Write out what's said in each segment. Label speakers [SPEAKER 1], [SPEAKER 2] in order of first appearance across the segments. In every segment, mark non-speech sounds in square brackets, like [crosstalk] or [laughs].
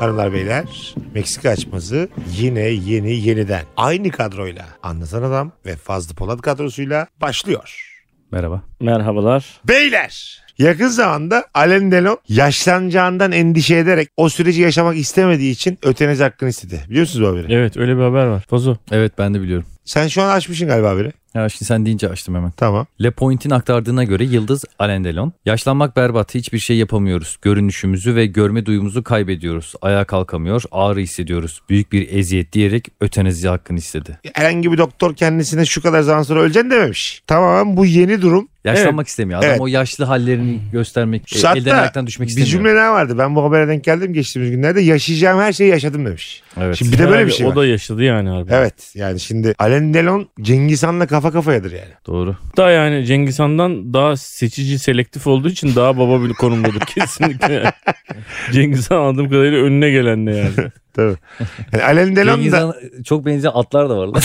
[SPEAKER 1] Hanımlar beyler Meksika açması yine yeni yeniden aynı kadroyla anlatan adam ve Fazlı Polat kadrosuyla başlıyor.
[SPEAKER 2] Merhaba.
[SPEAKER 3] Merhabalar.
[SPEAKER 1] Beyler yakın zamanda Alain Delon yaşlanacağından endişe ederek o süreci yaşamak istemediği için öteniz hakkını istedi. Biliyorsunuz bu haberi.
[SPEAKER 3] Evet öyle bir haber var. Fazo.
[SPEAKER 2] Evet ben de biliyorum.
[SPEAKER 1] Sen şu an açmışsın galiba haberi.
[SPEAKER 2] Ya şimdi sen deyince açtım hemen.
[SPEAKER 1] Tamam.
[SPEAKER 2] Le Point'in aktardığına göre Yıldız Alendelon. Yaşlanmak berbat hiçbir şey yapamıyoruz. Görünüşümüzü ve görme duyumuzu kaybediyoruz. Ayağa kalkamıyor ağrı hissediyoruz. Büyük bir eziyet diyerek ötenizi hakkını istedi.
[SPEAKER 1] Herhangi bir doktor kendisine şu kadar zaman sonra öleceksin dememiş. Tamamen bu yeni durum.
[SPEAKER 2] Yaşlanmak istemiyor. Adam
[SPEAKER 1] Evet.
[SPEAKER 2] o yaşlı hallerini göstermek, e,
[SPEAKER 1] Hatta
[SPEAKER 2] elden ayaktan düşmek
[SPEAKER 1] bir
[SPEAKER 2] istemiyor.
[SPEAKER 1] cümle daha vardı. Ben bu habere denk geldim geçtiğimiz günlerde. Yaşayacağım her şeyi yaşadım demiş.
[SPEAKER 2] Evet.
[SPEAKER 1] Şimdi bir de böyle bir şey
[SPEAKER 3] o
[SPEAKER 1] var.
[SPEAKER 3] da yaşadı yani harbi.
[SPEAKER 1] Evet yani şimdi Alain Delon Cengiz Han'la kafa kafayadır yani.
[SPEAKER 2] Doğru.
[SPEAKER 3] Hatta yani Cengiz Han'dan daha seçici selektif olduğu için daha baba bir konumdadır [laughs] kesinlikle. Cengiz Han anladığım kadarıyla önüne gelen
[SPEAKER 1] [laughs]
[SPEAKER 3] de yani.
[SPEAKER 1] Tabii. Yani
[SPEAKER 2] [laughs]
[SPEAKER 1] Alain Delon
[SPEAKER 2] Cengiz
[SPEAKER 1] da
[SPEAKER 2] Han- çok benzeyen atlar da var.
[SPEAKER 1] [laughs]
[SPEAKER 2] lan.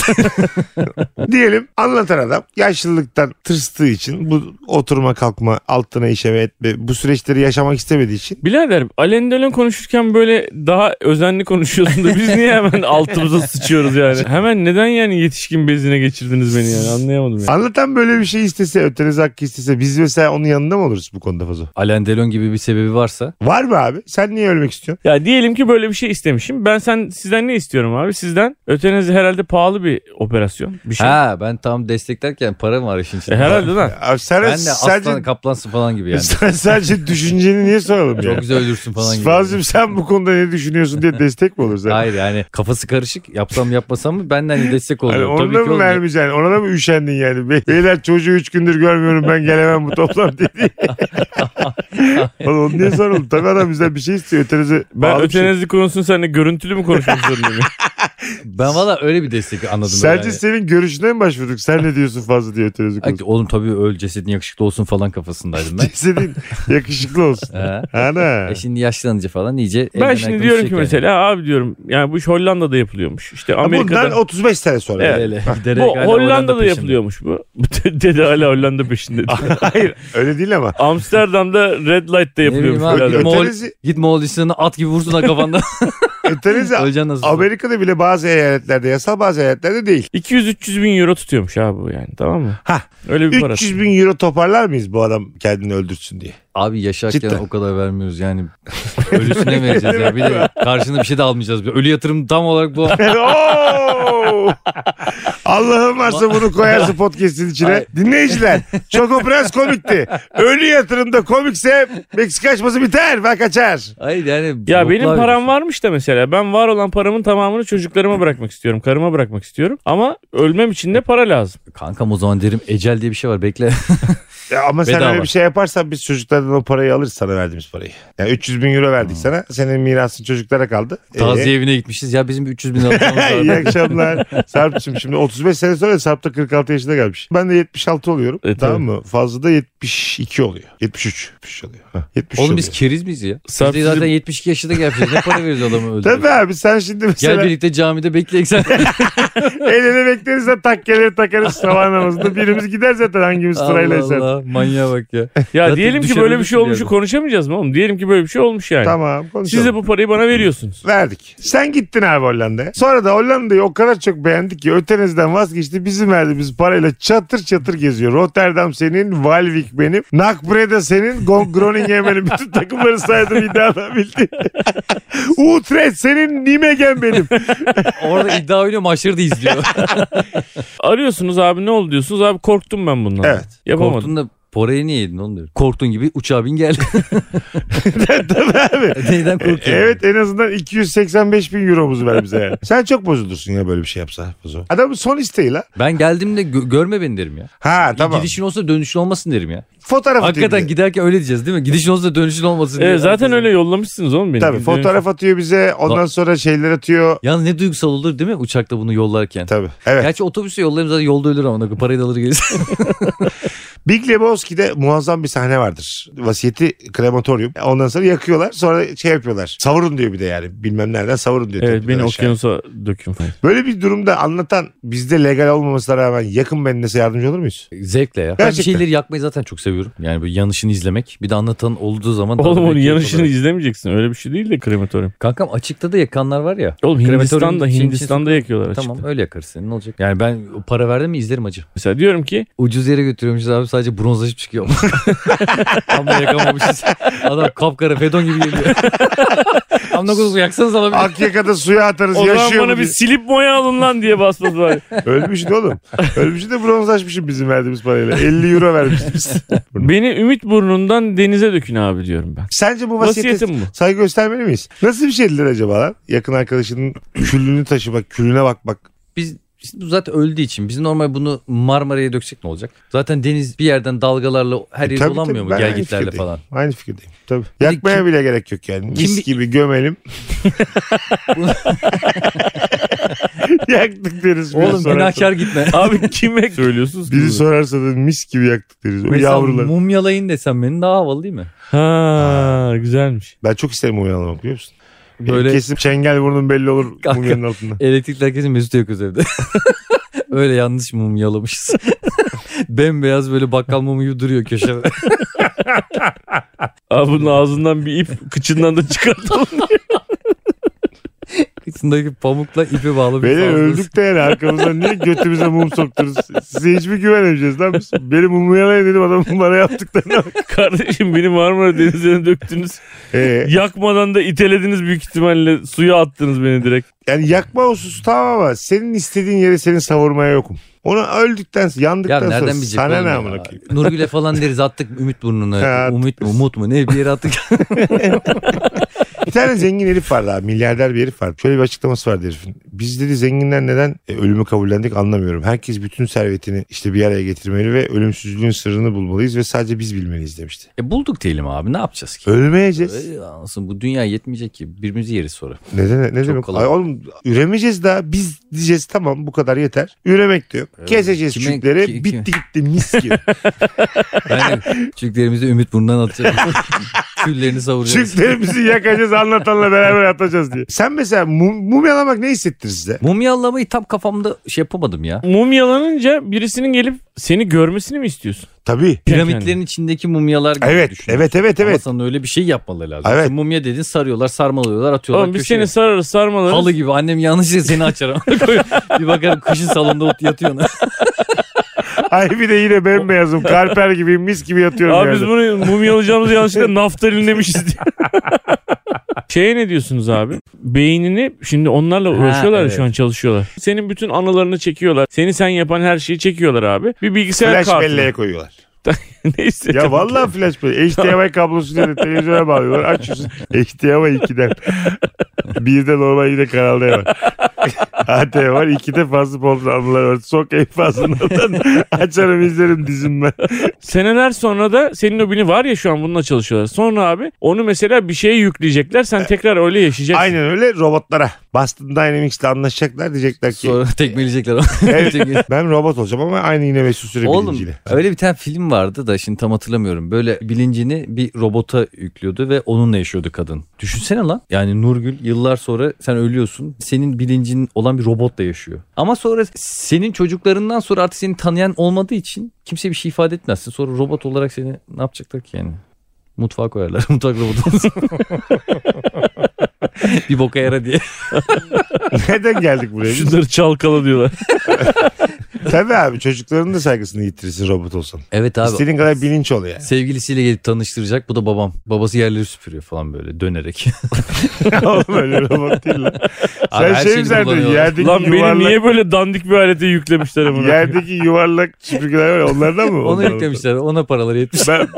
[SPEAKER 1] diyelim anlatan adam yaşlılıktan tırstığı için bu oturma kalkma altına işeme etme bu süreçleri yaşamak istemediği için.
[SPEAKER 3] Birader Alain Delon konuşurken böyle daha özenli konuşuyorsun da biz
[SPEAKER 1] [laughs]
[SPEAKER 3] niye hemen altımıza sıçıyoruz yani? Hemen neden yani yetişkin bezine geçirdiniz beni yani anlayamadım yani.
[SPEAKER 1] Anlatan böyle bir şey istese öteniz hakkı istese biz mesela onun yanında mı oluruz bu konuda fazla?
[SPEAKER 2] Alendelon gibi bir sebebi varsa
[SPEAKER 1] Var mı abi? Sen niye ölmek istiyorsun?
[SPEAKER 3] Ya diyelim ki böyle bir şey istemişim. Ben sen sizden ne istiyorum abi? Sizden ötenizi herhalde pahalı bir operasyon. Bir şey.
[SPEAKER 2] Ha ben tam desteklerken para mı var işin
[SPEAKER 3] E,
[SPEAKER 2] içinde?
[SPEAKER 3] herhalde lan.
[SPEAKER 1] Abi sen
[SPEAKER 2] Ben de
[SPEAKER 1] sadece,
[SPEAKER 2] aslan kaplansın falan gibi
[SPEAKER 1] [laughs]
[SPEAKER 2] yani.
[SPEAKER 1] sen sadece düşünceni niye soralım ya?
[SPEAKER 2] Çok güzel ölürsün falan gibi.
[SPEAKER 1] Fazlım sen bu konuda ne düşünüyorsun diye destek mi olur zaten?
[SPEAKER 2] Hayır yani kafası karışık yapsam yapmasam mı benden hani destek oluyor.
[SPEAKER 1] Hani
[SPEAKER 2] Tabii ki
[SPEAKER 1] ona mı
[SPEAKER 2] olmuyor.
[SPEAKER 1] vermeyeceksin? Ona da mı üşendin yani? Be- Beyler çocuğu 3 gündür görmüyorum ben gelemem bu toplantıya diye.
[SPEAKER 2] [laughs]
[SPEAKER 1] Oğlum onu niye soruldu? Tabii adam bizden bir şey istiyor. Ötenize
[SPEAKER 3] Ben
[SPEAKER 1] bağlı bir şey.
[SPEAKER 3] ötenizli konusunu seninle görüntülü mü konuşmak
[SPEAKER 2] [laughs]
[SPEAKER 3] zorundayım?
[SPEAKER 2] Ben valla öyle bir destek anladım. ben
[SPEAKER 1] Sence senin görüşüne mi başvurduk? Sen ne diyorsun fazla diye ötenizi
[SPEAKER 2] yani. Ay,
[SPEAKER 1] konuşuyor.
[SPEAKER 2] Oğlum tabii öl cesedin yakışıklı olsun falan kafasındaydım
[SPEAKER 3] [laughs]
[SPEAKER 2] ben. [laughs]
[SPEAKER 1] İstediğin yakışıklı olsun.
[SPEAKER 2] He.
[SPEAKER 1] Ana.
[SPEAKER 2] E şimdi yaşlanınca falan iyice
[SPEAKER 3] ben
[SPEAKER 2] elden
[SPEAKER 3] şimdi
[SPEAKER 2] ayaktan
[SPEAKER 3] diyorum
[SPEAKER 2] düşecek
[SPEAKER 3] ki
[SPEAKER 2] yani.
[SPEAKER 3] mesela abi diyorum yani bu iş Hollanda'da yapılıyormuş. İşte
[SPEAKER 1] Ha,
[SPEAKER 3] Amerika'da.
[SPEAKER 1] Bundan 35 sene sonra.
[SPEAKER 3] Evet.
[SPEAKER 2] Hele,
[SPEAKER 3] bu
[SPEAKER 2] giderek hala
[SPEAKER 3] Hollanda'da
[SPEAKER 2] peşinde.
[SPEAKER 3] yapılıyormuş bu. Dedi hala Hollanda
[SPEAKER 2] [laughs]
[SPEAKER 3] peşinde. [laughs]
[SPEAKER 1] Hayır öyle değil ama.
[SPEAKER 3] Amsterdam'da Red Light'ta
[SPEAKER 2] Ne bileyim
[SPEAKER 3] yapılıyormuş.
[SPEAKER 2] abi,
[SPEAKER 3] birader.
[SPEAKER 2] git, Moğol,
[SPEAKER 1] Ötenizi-
[SPEAKER 2] git Moğolistan'a at gibi vursun da
[SPEAKER 3] [laughs]
[SPEAKER 2] kafandan.
[SPEAKER 1] Ötenizi
[SPEAKER 2] Öleceksin
[SPEAKER 1] [laughs]
[SPEAKER 2] nasıl?
[SPEAKER 1] Amerika'da bile bazı eyaletlerde yasal bazı eyaletlerde değil.
[SPEAKER 3] 200-300 bin euro tutuyormuş abi bu yani tamam mı?
[SPEAKER 1] Hah.
[SPEAKER 3] Öyle bir parası.
[SPEAKER 1] 300 bin euro toparlar mıyız bu adam kendini öldürsün diye?
[SPEAKER 2] Abi yaşarken
[SPEAKER 1] Cidden.
[SPEAKER 2] o kadar vermiyoruz yani. Ölüsüne vereceğiz ya. Bir de karşına bir şey de almayacağız. Ölü yatırım tam olarak
[SPEAKER 3] [laughs]
[SPEAKER 2] bu.
[SPEAKER 1] Oo! Allah'ım varsa bunu koyarsın podcast'in içine.
[SPEAKER 2] Ay.
[SPEAKER 1] Dinleyiciler Choco Prens komikti. Ölü yatırımda komikse Meksika açması biter ve kaçar.
[SPEAKER 2] Hayır yani.
[SPEAKER 3] Ya
[SPEAKER 2] boklar
[SPEAKER 3] benim
[SPEAKER 2] veriyorsun.
[SPEAKER 3] param varmış da mesela ben var olan paramın tamamını çocuklarıma bırakmak istiyorum. Karıma bırakmak istiyorum. Ama ölmem için de para lazım.
[SPEAKER 2] Kankam o zaman derim ecel diye bir şey var bekle.
[SPEAKER 1] Ya ama sen
[SPEAKER 2] Bedava.
[SPEAKER 1] öyle bir şey yaparsan biz çocuklardan o parayı alırız sana verdiğimiz parayı. Yani 300 bin euro verdik sana. Senin mirasın çocuklara kaldı. Ee,
[SPEAKER 2] Taziye evine gitmişiz ya bizim bir 300 bin
[SPEAKER 1] [laughs]
[SPEAKER 2] alacağımız
[SPEAKER 1] İyi
[SPEAKER 2] var.
[SPEAKER 1] akşamlar. Sarp'cığım şimdi 35 sene sonra Sarp da 46 yaşında gelmiş. Ben de 76 oluyorum.
[SPEAKER 3] E,
[SPEAKER 1] tamam mı? Fazla da 72 oluyor. 73. 73 oluyor. Hah, 73
[SPEAKER 2] Oğlum
[SPEAKER 1] oluyor.
[SPEAKER 2] biz keriz miyiz ya? Biz
[SPEAKER 3] Sarp
[SPEAKER 2] de zaten
[SPEAKER 3] sizi-
[SPEAKER 2] 72 yaşında gelmişiz. Ne para veriyoruz
[SPEAKER 1] [laughs]
[SPEAKER 2] adamı öldü.
[SPEAKER 1] Tabii abi sen şimdi mesela...
[SPEAKER 2] Gel birlikte camide bekleyek sen.
[SPEAKER 1] El ele bekleriz de takkeleri takarız sabah namazında. Birimiz gider zaten hangimiz [laughs] sırayla
[SPEAKER 2] Allah
[SPEAKER 1] eser.
[SPEAKER 2] Allah manyağa bak ya.
[SPEAKER 3] Ya
[SPEAKER 2] Zaten
[SPEAKER 3] diyelim ki
[SPEAKER 2] dışarı
[SPEAKER 3] böyle bir şey olmuş
[SPEAKER 2] düşünüyorum.
[SPEAKER 3] konuşamayacağız mı oğlum? Diyelim ki böyle bir şey olmuş yani.
[SPEAKER 1] Tamam konuşalım.
[SPEAKER 3] Siz de bu parayı bana veriyorsunuz.
[SPEAKER 1] Verdik. Sen gittin abi Hollanda'ya. Sonra da Hollanda'yı o kadar çok beğendik ki ötenizden vazgeçti. Bizim verdiğimiz parayla çatır çatır geziyor. Rotterdam senin, Walvik benim, Nakbreda senin, Gon- Groningen benim. Bütün takımları saydım
[SPEAKER 2] [laughs]
[SPEAKER 1] iddialabildi. Utrecht senin, Nimegen benim.
[SPEAKER 2] Orada iddia oynuyor maçları da izliyor.
[SPEAKER 3] Arıyorsunuz abi ne oldu diyorsunuz. Abi korktum ben bundan.
[SPEAKER 1] Evet.
[SPEAKER 3] [laughs] Yapamadım.
[SPEAKER 2] Korktun da Porayı niye yedin oğlum diyorum. Korktun gibi uçağa bin gel.
[SPEAKER 1] [laughs] Tabii abi.
[SPEAKER 2] [laughs] Neyden korkuyorsun?
[SPEAKER 1] Evet en azından 285 bin euromuzu ver bize yani. Sen çok bozulursun ya böyle bir şey yapsa. Fuzo. Adamın son isteği la.
[SPEAKER 2] Ben geldim de gö- görme beni derim ya.
[SPEAKER 1] Ha tamam.
[SPEAKER 2] Gidişin olsa dönüşün olmasın derim ya.
[SPEAKER 1] Fotoğraf
[SPEAKER 2] Hakikaten
[SPEAKER 1] atıyor bize.
[SPEAKER 2] giderken öyle diyeceğiz değil mi? Gidişin olsa dönüşün olmasın diye.
[SPEAKER 3] Evet, E, zaten öyle yollamışsınız oğlum beni.
[SPEAKER 1] Tabii
[SPEAKER 3] Dün-
[SPEAKER 1] fotoğraf atıyor bize. Ondan sonra şeyler atıyor.
[SPEAKER 2] Yalnız ne duygusal olur değil mi uçakta bunu yollarken?
[SPEAKER 1] Tabii. Evet.
[SPEAKER 2] Gerçi otobüse yollarım zaten yolda ölür ama ne- parayı da alır gelirsin.
[SPEAKER 1] Big Lebowski'de muazzam bir sahne vardır. Vasiyeti krematoryum. Ondan sonra yakıyorlar. Sonra şey yapıyorlar. Savurun diyor bir de yani. Bilmem nereden savurun diyor.
[SPEAKER 3] Evet
[SPEAKER 1] tepkiden
[SPEAKER 3] beni
[SPEAKER 1] aşağı.
[SPEAKER 3] okyanusa dökün falan.
[SPEAKER 1] Böyle bir durumda anlatan bizde legal olmamasına rağmen yakın bendese yardımcı olur muyuz?
[SPEAKER 3] [laughs]
[SPEAKER 2] Zevkle ya. Ben bir
[SPEAKER 1] Gerçekten.
[SPEAKER 2] şeyleri yakmayı zaten çok seviyorum. Yani böyle yanışını izlemek. Bir de anlatan olduğu zaman. daha
[SPEAKER 3] Oğlum
[SPEAKER 2] da
[SPEAKER 3] onun
[SPEAKER 2] keyif
[SPEAKER 3] yanışını
[SPEAKER 2] alırım.
[SPEAKER 3] izlemeyeceksin. Öyle bir şey değil de krematoryum.
[SPEAKER 2] Kankam açıkta da yakanlar var ya.
[SPEAKER 3] Oğlum
[SPEAKER 2] Krematoryum
[SPEAKER 3] Hindistan'da
[SPEAKER 2] için-
[SPEAKER 3] Hindistan'da yakıyorlar açıkta.
[SPEAKER 2] Tamam öyle yakarız senin ne olacak? Yani ben para verdim mi izlerim acı.
[SPEAKER 3] Mesela diyorum ki
[SPEAKER 2] Ucuz yere götürüyormuşuz abi sadece bronzlaşıp [laughs] çıkıyor. Tam da yakamamışız. Adam kapkara fedon gibi geliyor. Tam da kuzu yaksanız alabilir.
[SPEAKER 1] Akyaka'da suya atarız
[SPEAKER 3] o zaman
[SPEAKER 1] yaşıyor mu
[SPEAKER 3] bana bir
[SPEAKER 1] diye.
[SPEAKER 3] silip boya alın lan diye basmadılar.
[SPEAKER 1] [laughs] Ölmüşsün
[SPEAKER 3] [laughs]
[SPEAKER 1] oğlum. Ölmüşsün de bronzlaşmışım bizim verdiğimiz parayla. 50 euro vermişiz
[SPEAKER 3] [laughs]
[SPEAKER 1] biz.
[SPEAKER 3] Beni Ümit Burnu'ndan denize dökün abi diyorum ben.
[SPEAKER 1] Sence bu vasiyete
[SPEAKER 3] Vasiyetim bu.
[SPEAKER 1] saygı göstermeli miyiz? Nasıl bir şeydir acaba lan? Yakın arkadaşının külünü taşımak, külüne bakmak.
[SPEAKER 2] Biz biz bu zaten öldüğü için biz normal bunu Marmara'ya döksek ne olacak? Zaten deniz bir yerden dalgalarla her yeri
[SPEAKER 1] E, Tabii,
[SPEAKER 2] dolanmıyor
[SPEAKER 1] tabii.
[SPEAKER 2] mu
[SPEAKER 1] Ben aynı
[SPEAKER 2] gelgitlerle
[SPEAKER 1] fikirdeyim.
[SPEAKER 2] falan?
[SPEAKER 1] Aynı fikirdeyim. Tabii.
[SPEAKER 2] de
[SPEAKER 1] Yakmaya
[SPEAKER 2] kim-
[SPEAKER 1] bile gerek yok yani.
[SPEAKER 2] Kim bi-
[SPEAKER 1] Mis gibi
[SPEAKER 2] [laughs]
[SPEAKER 1] gömelim. yaktık deriz. biri
[SPEAKER 2] Oğlum
[SPEAKER 1] sorarsa.
[SPEAKER 2] günahkar gitme.
[SPEAKER 3] Abi kime söylüyorsunuz? ki
[SPEAKER 1] Biri
[SPEAKER 3] bunu?
[SPEAKER 1] sorarsa da mis gibi yaktık deriz. O [laughs]
[SPEAKER 2] Mesela
[SPEAKER 1] yavrular.
[SPEAKER 2] mum yalayın desem benim daha havalı değil mi?
[SPEAKER 3] Ha güzelmiş.
[SPEAKER 1] Ben çok isterim uyanamak biliyor musun?
[SPEAKER 2] Böyle-
[SPEAKER 1] Böyle... Kesin çengel burnum belli olur
[SPEAKER 2] Kanka.
[SPEAKER 1] mumyanın
[SPEAKER 2] [laughs]
[SPEAKER 1] altında.
[SPEAKER 2] Elektrikler kesin Mesut yakıyoruz evde. [laughs] Öyle yanlış mum yalamışız. [laughs] Bembeyaz böyle bakkal mumu gibi duruyor köşede. [laughs]
[SPEAKER 3] Abi bunun ağzından bir ip kıçından da çıkartalım.
[SPEAKER 2] Kıçındaki pamukla ipi bağlı bir
[SPEAKER 1] Beyler
[SPEAKER 2] sazlıyoruz.
[SPEAKER 1] öldük de yani arkamızdan niye götümüze mum soktunuz? Size hiç mi güvenemeyeceğiz lan biz? Beni mumu yalayın dedim adamın bana yaptıklarına. bak.
[SPEAKER 3] Kardeşim beni Marmara Denizi'ne döktünüz.
[SPEAKER 1] Ee,
[SPEAKER 2] [laughs]
[SPEAKER 3] Yakmadan da itelediniz büyük ihtimalle. Suya attınız beni direkt.
[SPEAKER 1] yani yakma hususu tamam ama senin istediğin yere seni savurmaya yokum. Onu öldükten sonra,
[SPEAKER 2] Ya
[SPEAKER 1] yandıktan
[SPEAKER 2] nereden
[SPEAKER 1] sonra
[SPEAKER 2] bilecek
[SPEAKER 1] sana
[SPEAKER 2] oğlum
[SPEAKER 1] ne
[SPEAKER 2] ya?
[SPEAKER 1] amına koyayım?
[SPEAKER 2] [laughs] Nurgül'e falan deriz attık
[SPEAKER 1] [laughs]
[SPEAKER 2] Ümit burnuna.
[SPEAKER 1] Ha,
[SPEAKER 2] Umut mu Umut mu ne bir yere attık. [laughs]
[SPEAKER 1] Bir tane zengin herif vardı abi milyarder bir herif vardı. Şöyle bir açıklaması vardı herifin. Biz dedi zenginler neden e, ölümü kabullendik anlamıyorum. Herkes bütün servetini işte bir araya getirmeli ve ölümsüzlüğün sırrını bulmalıyız ve sadece biz bilmeliyiz demişti.
[SPEAKER 2] e bulduk diyelim abi ne yapacağız ki?
[SPEAKER 1] Ölmeyeceğiz.
[SPEAKER 2] E, anasını bu dünya yetmeyecek ki birbirimizi yeriz sonra.
[SPEAKER 1] Neden ne demek?
[SPEAKER 2] kolay.
[SPEAKER 1] Ay oğlum üremeyeceğiz daha. Biz diyeceğiz tamam bu kadar yeter. Üremek diyor. Keseceğiz
[SPEAKER 2] Kime-
[SPEAKER 1] çükleri.
[SPEAKER 2] ki- kime?
[SPEAKER 1] bitti gitti mis gibi.
[SPEAKER 2] Yani [laughs] çüklerimizi Ümit burnundan atacağız. [laughs] Küllerini savuracağız.
[SPEAKER 1] Çüklerimizi yakacağız anlatanla beraber atacağız diye. Sen mesela mum, mum yalamak ne hissettirir size?
[SPEAKER 2] Mumyalamayı tam kafamda şey yapamadım ya.
[SPEAKER 3] Mum yalanınca birisinin gelip seni görmesini mi istiyorsun?
[SPEAKER 1] Tabii.
[SPEAKER 2] Piramitlerin içindeki mumyalar gibi
[SPEAKER 1] Evet,
[SPEAKER 2] düşün.
[SPEAKER 1] evet, evet,
[SPEAKER 2] Ama
[SPEAKER 1] evet.
[SPEAKER 2] sana öyle bir şey yapmaları lazım.
[SPEAKER 1] Evet.
[SPEAKER 2] Sen mumya dedin sarıyorlar, sarmalıyorlar, atıyorlar
[SPEAKER 3] Oğlum biz
[SPEAKER 2] köşeye.
[SPEAKER 3] seni sararız sarmalarız.
[SPEAKER 2] Halı gibi annem yanlışlıkla seni açar. [laughs] ama. bir bakarım kışın salonda ot yatıyorsun.
[SPEAKER 1] Ay bir de yine bembeyazım. Karper gibi mis gibi yatıyorum
[SPEAKER 3] Abi
[SPEAKER 1] yani.
[SPEAKER 3] biz bunu
[SPEAKER 1] [laughs]
[SPEAKER 3] mumyalayacağımız yanlışlıkla naftalinlemişiz diye. Şeye ne diyorsunuz abi? Beynini şimdi onlarla uğraşıyorlar ya
[SPEAKER 2] evet.
[SPEAKER 3] şu an çalışıyorlar. Senin bütün anılarını çekiyorlar. Seni sen yapan her şeyi çekiyorlar abi. Bir bilgisayar
[SPEAKER 1] Flash
[SPEAKER 3] kartı.
[SPEAKER 1] belleğe koyuyorlar.
[SPEAKER 3] [laughs]
[SPEAKER 1] [laughs]
[SPEAKER 3] Neyse.
[SPEAKER 1] Ya vallahi flash belleğe. [laughs] HDMI kablosuyla da televizyona bağlıyorlar. Açıyorsun. HDMI [laughs] 2'den. 1'de normal yine kanalda var. [laughs] ATV var. 2'de fazla pompa anılar var. Sok en fazlalardan. [laughs] Açarım izlerim dizim ben.
[SPEAKER 3] Seneler sonra da senin o bini var ya şu an bununla çalışıyorlar. Sonra abi onu mesela bir şeye yükleyecekler. Sen tekrar öyle yaşayacaksın.
[SPEAKER 1] E, Aynen öyle robotlara. Boston Dynamics'le anlaşacaklar. Diyecekler ki
[SPEAKER 2] Sonra tekmeleyecekler. ama.
[SPEAKER 1] Evet.
[SPEAKER 2] [laughs] Tekmele-
[SPEAKER 1] ben robot olacağım ama aynı yine Mesut Süre
[SPEAKER 2] Oğlum
[SPEAKER 1] [laughs] bilinciyle.
[SPEAKER 2] öyle bir tane film vardı da şimdi tam hatırlamıyorum. Böyle bilincini bir robota yüklüyordu ve onunla yaşıyordu kadın. Düşünsene lan. Yani Nurgül yıllar sonra sen ölüyorsun. Senin bilincin olan bir robotla yaşıyor. Ama sonra senin çocuklarından sonra artık seni tanıyan olmadığı için kimse bir şey ifade etmezsin. Sonra robot olarak seni ne yapacaklar ki yani? Mutfağa koyarlar. [laughs] Mutfak robotu. bir boka yara diye.
[SPEAKER 1] Neden geldik buraya? biz?
[SPEAKER 3] Şunları çalkala diyorlar.
[SPEAKER 1] Tabii abi çocukların da saygısını yitirirsin robot olsan.
[SPEAKER 2] Evet abi.
[SPEAKER 1] İstediğin kadar bilinç ol
[SPEAKER 2] [laughs]
[SPEAKER 1] yani.
[SPEAKER 2] Sevgilisiyle gelip tanıştıracak. Bu da babam. Babası yerleri süpürüyor falan böyle dönerek.
[SPEAKER 1] Oğlum öyle robot değil lan.
[SPEAKER 2] Abi
[SPEAKER 1] Sen
[SPEAKER 2] her
[SPEAKER 1] şey
[SPEAKER 2] şeyini
[SPEAKER 1] mi zannediyorsun?
[SPEAKER 2] kullanıyorlar.
[SPEAKER 1] Yerdeki
[SPEAKER 3] Lan beni
[SPEAKER 1] yuvarlak,
[SPEAKER 3] niye böyle dandik bir alete yüklemişler amına?
[SPEAKER 1] yerdeki [laughs] yuvarlak süpürgeler var ya, onlardan mı?
[SPEAKER 2] Onu
[SPEAKER 1] Onlardan.
[SPEAKER 2] yüklemişler. Ona paraları yetmiş.
[SPEAKER 1] Ben,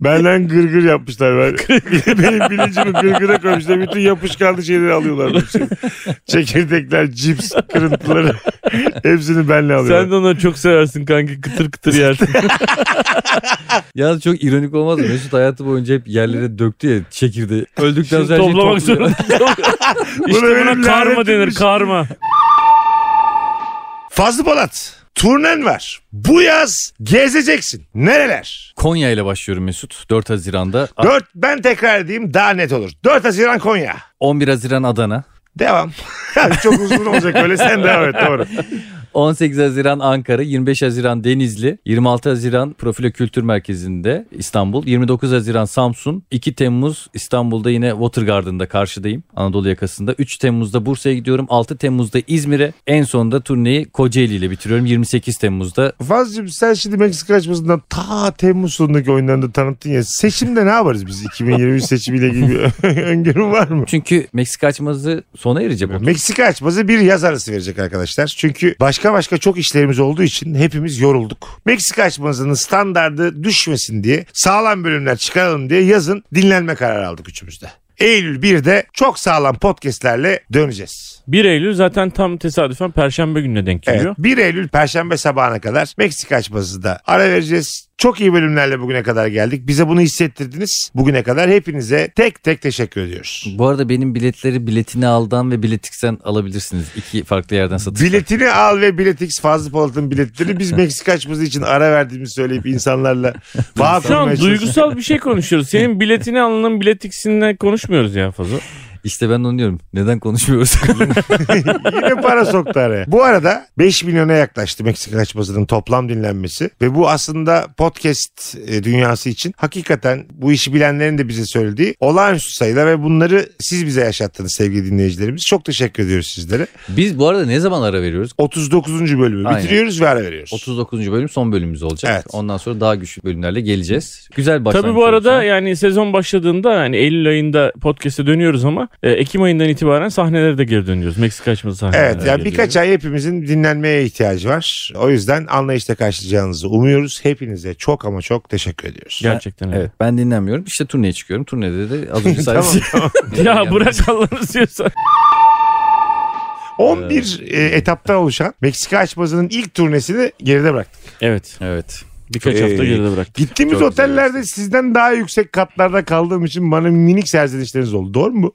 [SPEAKER 1] benden gırgır yapmışlar. Ben, [laughs] benim bilincimi gırgıra koymuşlar. Bütün yapışkanlı şeyleri alıyorlar. Çekirdekler, cips, kırıntıları. Hepsini benle alıyorlar.
[SPEAKER 3] Sen de onları çok seversin kanki kıtır kıtır yersin.
[SPEAKER 2] Ya çok ironik olmaz mı? Mesut hayatı boyunca hep yerlere döktü ya çekirdeği. Öldükten
[SPEAKER 3] Şimdi
[SPEAKER 2] sonra her şeyi
[SPEAKER 3] toplamak
[SPEAKER 2] topluyor.
[SPEAKER 1] [laughs]
[SPEAKER 3] zorunda. işte
[SPEAKER 1] benim
[SPEAKER 3] buna karma denir
[SPEAKER 1] lanetimmiş.
[SPEAKER 3] karma.
[SPEAKER 1] Fazlı Polat. Turnen var. Bu yaz gezeceksin. Nereler?
[SPEAKER 2] Konya ile başlıyorum Mesut. 4 Haziran'da.
[SPEAKER 1] 4 ben tekrar edeyim daha net olur. 4 Haziran Konya.
[SPEAKER 2] 11 Haziran Adana.
[SPEAKER 1] Devam. [laughs] Çok uzun olacak öyle sen devam et doğru.
[SPEAKER 2] 18 Haziran Ankara, 25 Haziran Denizli, 26 Haziran Profilo Kültür Merkezi'nde İstanbul, 29 Haziran Samsun, 2 Temmuz İstanbul'da yine Water Garden'da karşıdayım Anadolu yakasında. 3 Temmuz'da Bursa'ya gidiyorum, 6 Temmuz'da İzmir'e, en sonunda turneyi Kocaeli ile bitiriyorum. 28 Temmuz'da
[SPEAKER 1] Fazlıcığım sen şimdi Meksika açmasından ta Temmuz sonundaki oyunlarını tanıttın ya. Seçimde ne yaparız biz? 2023 seçimiyle ilgili bir [laughs] öngörüm var mı?
[SPEAKER 2] çünkü Meksika açması sona erecek. o.
[SPEAKER 1] Meksika açması bir yaz arası verecek arkadaşlar. Çünkü başka başka çok işlerimiz olduğu için hepimiz yorulduk. Meksika açmasının standardı düşmesin diye sağlam bölümler çıkaralım diye yazın dinlenme kararı aldık üçümüzde. Eylül 1'de çok sağlam podcastlerle döneceğiz.
[SPEAKER 3] 1 Eylül zaten tam tesadüfen perşembe gününe denk
[SPEAKER 1] Evet,
[SPEAKER 3] geliyor.
[SPEAKER 1] 1 Eylül Perşembe sabahına kadar Meksika açması da ara vereceğiz. Çok iyi bölümlerle bugüne kadar geldik. Bize bunu hissettirdiniz. Bugüne kadar hepinize tek tek teşekkür ediyoruz.
[SPEAKER 2] Bu arada benim biletleri biletini aldan ve biletiksen alabilirsiniz. İki farklı yerden satış.
[SPEAKER 1] Biletini al ve biletix Fazlı Polat'ın biletleri biz Meksika açması için ara verdiğimizi söyleyip
[SPEAKER 3] [laughs]
[SPEAKER 1] insanlarla bağ
[SPEAKER 3] Şu
[SPEAKER 1] kurmaya
[SPEAKER 3] an
[SPEAKER 1] çalışıyoruz.
[SPEAKER 3] duygusal bir şey
[SPEAKER 1] [laughs]
[SPEAKER 3] konuşuyoruz. Senin biletini alınan bilet X'inden konuşmuyoruz ya fazla.
[SPEAKER 2] İşte ben de onu diyorum. Neden konuşmuyoruz?
[SPEAKER 1] Yine para soktu araya. Bu arada 5 milyona yaklaştı Meksika açmasının toplam dinlenmesi ve bu aslında podcast e, dünyası için hakikaten bu işi bilenlerin de bize söylediği olağanüstü sayılar ve bunları siz bize yaşattınız sevgili dinleyicilerimiz. Çok teşekkür ediyoruz sizlere.
[SPEAKER 2] [laughs] Biz bu arada ne zaman ara veriyoruz?
[SPEAKER 1] 39. bölümü
[SPEAKER 2] Aynen.
[SPEAKER 1] bitiriyoruz ve ara veriyoruz.
[SPEAKER 2] 39. bölüm son bölümümüz olacak.
[SPEAKER 1] Evet.
[SPEAKER 2] Ondan sonra daha güçlü bölümlerle geleceğiz. Güzel başlangıç.
[SPEAKER 3] Tabii bu arada
[SPEAKER 2] olacak.
[SPEAKER 3] yani sezon başladığında yani Eylül ayında podcast'e dönüyoruz ama e, Ekim ayından itibaren sahnelere de geri dönüyoruz. Meksika açması sahnelerine.
[SPEAKER 1] Evet yani birkaç ay hepimizin dinlenmeye ihtiyacı var. O yüzden anlayışla karşılayacağınızı umuyoruz. Hepinize çok ama çok teşekkür ediyoruz.
[SPEAKER 3] Gerçekten öyle.
[SPEAKER 2] Evet ben dinlenmiyorum. İşte turneye çıkıyorum. Turnede de az [laughs] önce şey-
[SPEAKER 1] Tamam,
[SPEAKER 2] saydım.
[SPEAKER 3] [laughs] Ya bırak Allah'ını seviyorsan.
[SPEAKER 1] 11 e, etaptan oluşan Meksika açmasının ilk turnesini geride bıraktık.
[SPEAKER 3] Evet.
[SPEAKER 2] Evet.
[SPEAKER 3] Birkaç
[SPEAKER 1] Ee,
[SPEAKER 3] hafta geride bıraktık.
[SPEAKER 1] Gittiğimiz
[SPEAKER 2] Çok güzel
[SPEAKER 1] otellerde sizden daha yüksek katlarda kaldığım için bana minik serzenişleriniz oldu. Doğru mu?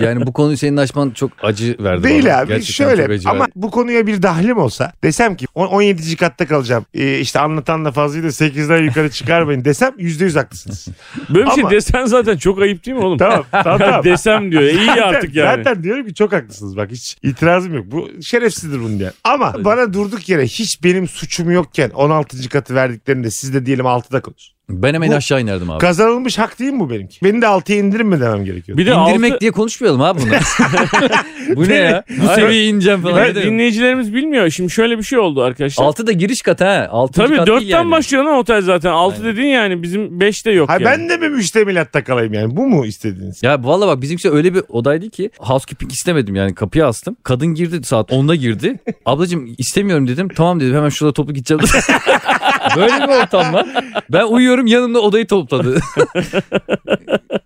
[SPEAKER 2] Yani bu konuyu senin açman çok acı verdi
[SPEAKER 1] Değil
[SPEAKER 2] bana.
[SPEAKER 1] abi.
[SPEAKER 2] Gerçekten çok
[SPEAKER 1] şöyle
[SPEAKER 2] acı
[SPEAKER 1] ama
[SPEAKER 2] verdi.
[SPEAKER 1] bu konuya bir dahlim olsa desem ki "On- 17. katta kalacağım. Ee, işte anlatanla fazlayı da 8'den yukarı çıkarmayın desem %100 haklısınız. [laughs]
[SPEAKER 3] Böyle bir şey
[SPEAKER 1] ama-
[SPEAKER 3] desen zaten çok ayıp değil mi oğlum? [laughs]
[SPEAKER 1] tamam tamam tamam.
[SPEAKER 3] Desem diyor. İyi
[SPEAKER 1] Zaten-
[SPEAKER 3] artık yani.
[SPEAKER 1] Zaten diyorum ki çok haklısınız bak hiç itirazım yok. Bu şerefsizdir bunun diye. Ama bana durduk yere hiç benim suçum yokken 16. katı verdiklerinde siz de diyelim 6'da kalır.
[SPEAKER 2] Ben hemen
[SPEAKER 1] Bu-
[SPEAKER 2] aşağı inerdim abi.
[SPEAKER 1] Kazanılmış hak değil mi bu benimki? Beni de 6'ya indirin mi demem gerekiyor?
[SPEAKER 3] Bir de
[SPEAKER 2] İndirmek
[SPEAKER 3] altı-
[SPEAKER 2] diye konuşmayalım abi
[SPEAKER 3] [laughs]
[SPEAKER 2] bunu. bu ne ya? Bu
[SPEAKER 3] Hayır.
[SPEAKER 2] seviyeye ineceğim falan.
[SPEAKER 3] Ben-
[SPEAKER 2] Ne demek?
[SPEAKER 3] dinleyicilerimiz bilmiyor. Şimdi şöyle bir şey oldu arkadaşlar.
[SPEAKER 2] Altı da giriş kat ha. Altıncı
[SPEAKER 3] Tabii
[SPEAKER 2] kat
[SPEAKER 3] dörtten
[SPEAKER 2] değil yani.
[SPEAKER 3] başlıyor lan otel zaten. Altı
[SPEAKER 2] Aynen.
[SPEAKER 3] dedin yani bizim beşte yok
[SPEAKER 1] Ha
[SPEAKER 3] yani.
[SPEAKER 1] ben de mi müştemilatta kalayım yani? Bu mu istediğiniz?
[SPEAKER 2] Ya valla bak bizimkisi öyle bir odaydı ki housekeeping istemedim yani kapıya astım. Kadın girdi saat 10'da
[SPEAKER 3] [laughs]
[SPEAKER 2] girdi. Ablacığım istemiyorum dedim. Tamam dedim hemen şurada toplu gideceğim. [laughs] Böyle bir ortam var. Ben uyuyorum yanımda odayı
[SPEAKER 3] [laughs]
[SPEAKER 2] topladı.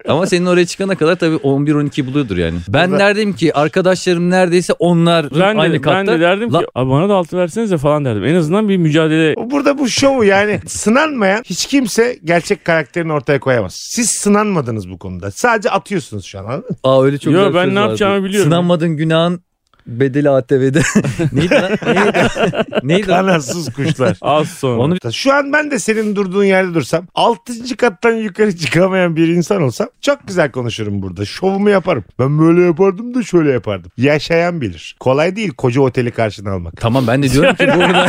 [SPEAKER 2] Ama senin oraya çıkana kadar tabii 11-12 buluyordur yani. Ben
[SPEAKER 1] Burada-
[SPEAKER 2] neredeyim ki arkadaşlarım neredeyse onlar
[SPEAKER 3] ben de,
[SPEAKER 2] aynı katta.
[SPEAKER 3] ben de derdim
[SPEAKER 2] La-
[SPEAKER 3] ki abi bana da altı versenize falan derdim. En azından bir mücadele.
[SPEAKER 1] Burada bu şovu yani [laughs] sınanmayan hiç kimse gerçek karakterini ortaya koyamaz. Siz sınanmadınız bu konuda. Sadece atıyorsunuz şu an. anladın mı?
[SPEAKER 2] Aa öyle çok
[SPEAKER 3] Yo,
[SPEAKER 2] güzel
[SPEAKER 3] ben
[SPEAKER 2] söz
[SPEAKER 3] ne
[SPEAKER 2] vardı.
[SPEAKER 3] yapacağımı biliyorum.
[SPEAKER 2] Sınanmadın günahın bedeli ATV'de.
[SPEAKER 3] [laughs]
[SPEAKER 2] neydi lan? Neydi? neydi lan?
[SPEAKER 1] Kanatsız kuşlar.
[SPEAKER 3] Az sonra.
[SPEAKER 2] Onu
[SPEAKER 1] Şu an ben de senin durduğun yerde dursam 6. kattan yukarı [laughs] çıkamayan bir insan olsam çok güzel konuşurum burada. Şovumu yaparım. Ben böyle yapardım da şöyle yapardım. Yaşayan bilir. Kolay değil koca oteli karşına almak.
[SPEAKER 2] Tamam ben de diyorum ki burada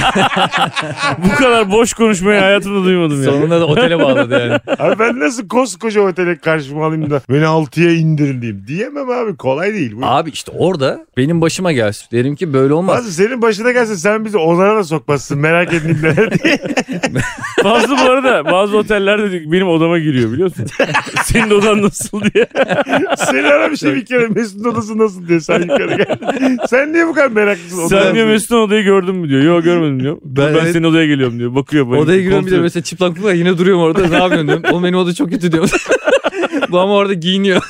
[SPEAKER 3] [laughs] Bu kadar boş konuşmayı hayatımda duymadım ya.
[SPEAKER 2] Sonunda da otele bağladı
[SPEAKER 3] [laughs]
[SPEAKER 2] yani.
[SPEAKER 1] Abi ben nasıl koskoca oteli karşıma alayım da beni 6'ya indirin diyeyim. Diyemem abi kolay değil. Bu
[SPEAKER 2] Abi işte orada benim başım başıma gelsin. Derim ki böyle olmaz.
[SPEAKER 1] Fazlı senin başına gelse sen bizi onlara da sokmazsın merak edeyim neler diye.
[SPEAKER 3] Bazı bu arada bazı otellerde diyor ki, benim odama giriyor biliyor musun? [laughs] Senin odan nasıl diye.
[SPEAKER 1] Seni aramış bir kere Mesut'un odası nasıl diye sen yukarı gel. Sen niye bu kadar meraklısın?
[SPEAKER 3] Sen
[SPEAKER 1] Odaya-
[SPEAKER 3] diyor Mesut'un odayı gördün mü diyor. Yok görmedim diyor. Ben,
[SPEAKER 2] Ben-
[SPEAKER 3] senin odaya geliyorum diyor. Bakıyor böyle.
[SPEAKER 2] Odaya giriyorum bir de
[SPEAKER 3] Kontrol-
[SPEAKER 2] mesela çıplaklıkla yine duruyorum orada. Ne yapıyorsun diyorum. Oğlum benim oda çok kötü diyorum. [laughs] Bu ama orada
[SPEAKER 3] [laughs]
[SPEAKER 2] giyiniyor.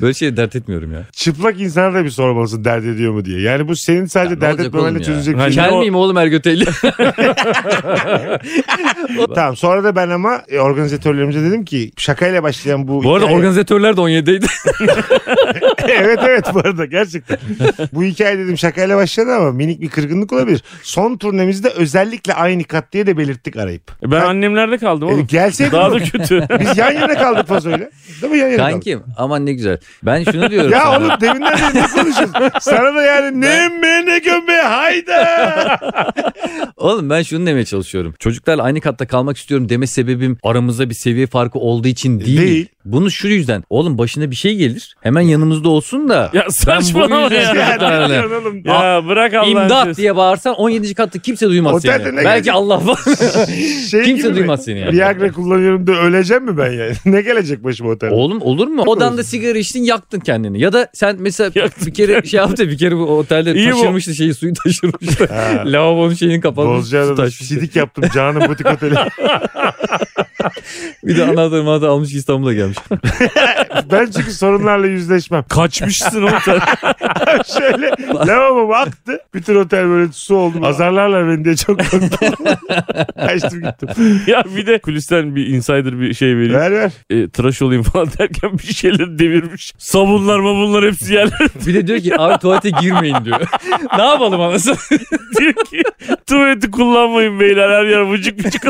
[SPEAKER 2] böyle şey dert etmiyorum ya.
[SPEAKER 1] Çıplak insana da bir sormalısın dert ediyor mu diye. Yani bu senin sadece
[SPEAKER 2] ne
[SPEAKER 1] dert
[SPEAKER 2] olacak
[SPEAKER 1] etmemenle
[SPEAKER 2] oğlum ya?
[SPEAKER 1] çözecek
[SPEAKER 3] Ha,
[SPEAKER 1] bir şey.
[SPEAKER 3] Şimdi
[SPEAKER 2] Kel
[SPEAKER 3] o-
[SPEAKER 2] miyim oğlum Ergötelli?
[SPEAKER 1] Tamam sonra da ben ama e, organizatörlerimize dedim ki şakayla başlayan bu...
[SPEAKER 2] Bu [laughs] arada
[SPEAKER 1] hikaye-
[SPEAKER 2] organizatörler de 17'deydi.
[SPEAKER 1] [laughs] evet evet bu arada gerçekten. bu hikaye dedim şakayla başladı ama minik bir kırgınlık olabilir. Son turnemizde özellikle aynı kat diye de belirttik arayıp.
[SPEAKER 3] Ben annemlerde kaldım
[SPEAKER 1] E,
[SPEAKER 3] oğlum.
[SPEAKER 1] gelseydin
[SPEAKER 3] Daha da
[SPEAKER 1] oğlum.
[SPEAKER 3] kötü.
[SPEAKER 1] Biz yan yana kaldık fazoyla. Değil mi yan yana kaldık?
[SPEAKER 2] Kankim aman ne güzel. Ben şunu diyorum
[SPEAKER 1] Ya
[SPEAKER 2] sana.
[SPEAKER 1] oğlum deminden beri ne konuşuyorsun? Sana da yani ne emme ne gömme hayda.
[SPEAKER 2] Oğlum ben şunu demeye çalışıyorum. Çocuklarla aynı katta kalmak istiyorum deme sebebim aramızda bir seviye farkı olduğu için değil.
[SPEAKER 1] E, Değil.
[SPEAKER 2] Bunu şu yüzden. Oğlum başına bir şey gelir. Hemen yanımızda olsun da.
[SPEAKER 3] Ya saçmalama
[SPEAKER 2] yüzden-
[SPEAKER 3] ya.
[SPEAKER 1] Ya ne diyorsun oğlum?
[SPEAKER 3] Ya bırak Allah'ın
[SPEAKER 2] İmdat
[SPEAKER 3] sesi.
[SPEAKER 2] diye bağırsan 17. katta kimse duymaz
[SPEAKER 1] Otelde ne
[SPEAKER 2] seni. Belki
[SPEAKER 1] gelecek?
[SPEAKER 2] Allah var. [laughs]
[SPEAKER 1] Şey
[SPEAKER 2] Kimse
[SPEAKER 1] gibi mi?
[SPEAKER 2] duymaz seni yani.
[SPEAKER 1] Viagra kullanıyorum da öleceğim mi ben yani? [laughs] ne gelecek başıma otelde?
[SPEAKER 2] Oğlum olur mu? Odanda sigara içtin yaktın kendini. Ya da sen
[SPEAKER 1] [laughs]
[SPEAKER 2] mesela bir kere şey yaptı bir kere bu otelde
[SPEAKER 3] İyi bu.
[SPEAKER 2] taşırmıştı şeyi suyu taşırmıştı.
[SPEAKER 1] Ha.
[SPEAKER 2] [laughs] Lavabonun şeyini kapatmış. su
[SPEAKER 1] Bozcaada da
[SPEAKER 2] taşmıştı.
[SPEAKER 1] sidik yaptım canım butik oteli.
[SPEAKER 2] [laughs] Bir de anahtarı manahtarı almış
[SPEAKER 1] [laughs]
[SPEAKER 2] İstanbul'a gelmiş.
[SPEAKER 1] ben çünkü sorunlarla yüzleşmem. [laughs]
[SPEAKER 3] Kaçmışsın oğlum sen.
[SPEAKER 1] Şöyle lavabom aktı. Bütün otel böyle su oldu. Azarlarlar beni diye çok korktum. [laughs] Kaçtım gittim.
[SPEAKER 3] ya bir de kulisten bir insider bir şey veriyor.
[SPEAKER 1] Ver ver.
[SPEAKER 3] E, tıraş olayım falan derken bir şeyler devirmiş. Sabunlar mabunlar hepsi yerler
[SPEAKER 2] Bir de diyor ki abi tuvalete girmeyin diyor. ne yapalım anasını?
[SPEAKER 3] [laughs] diyor ki tuvaleti kullanmayın beyler her yer vıcık vıcık.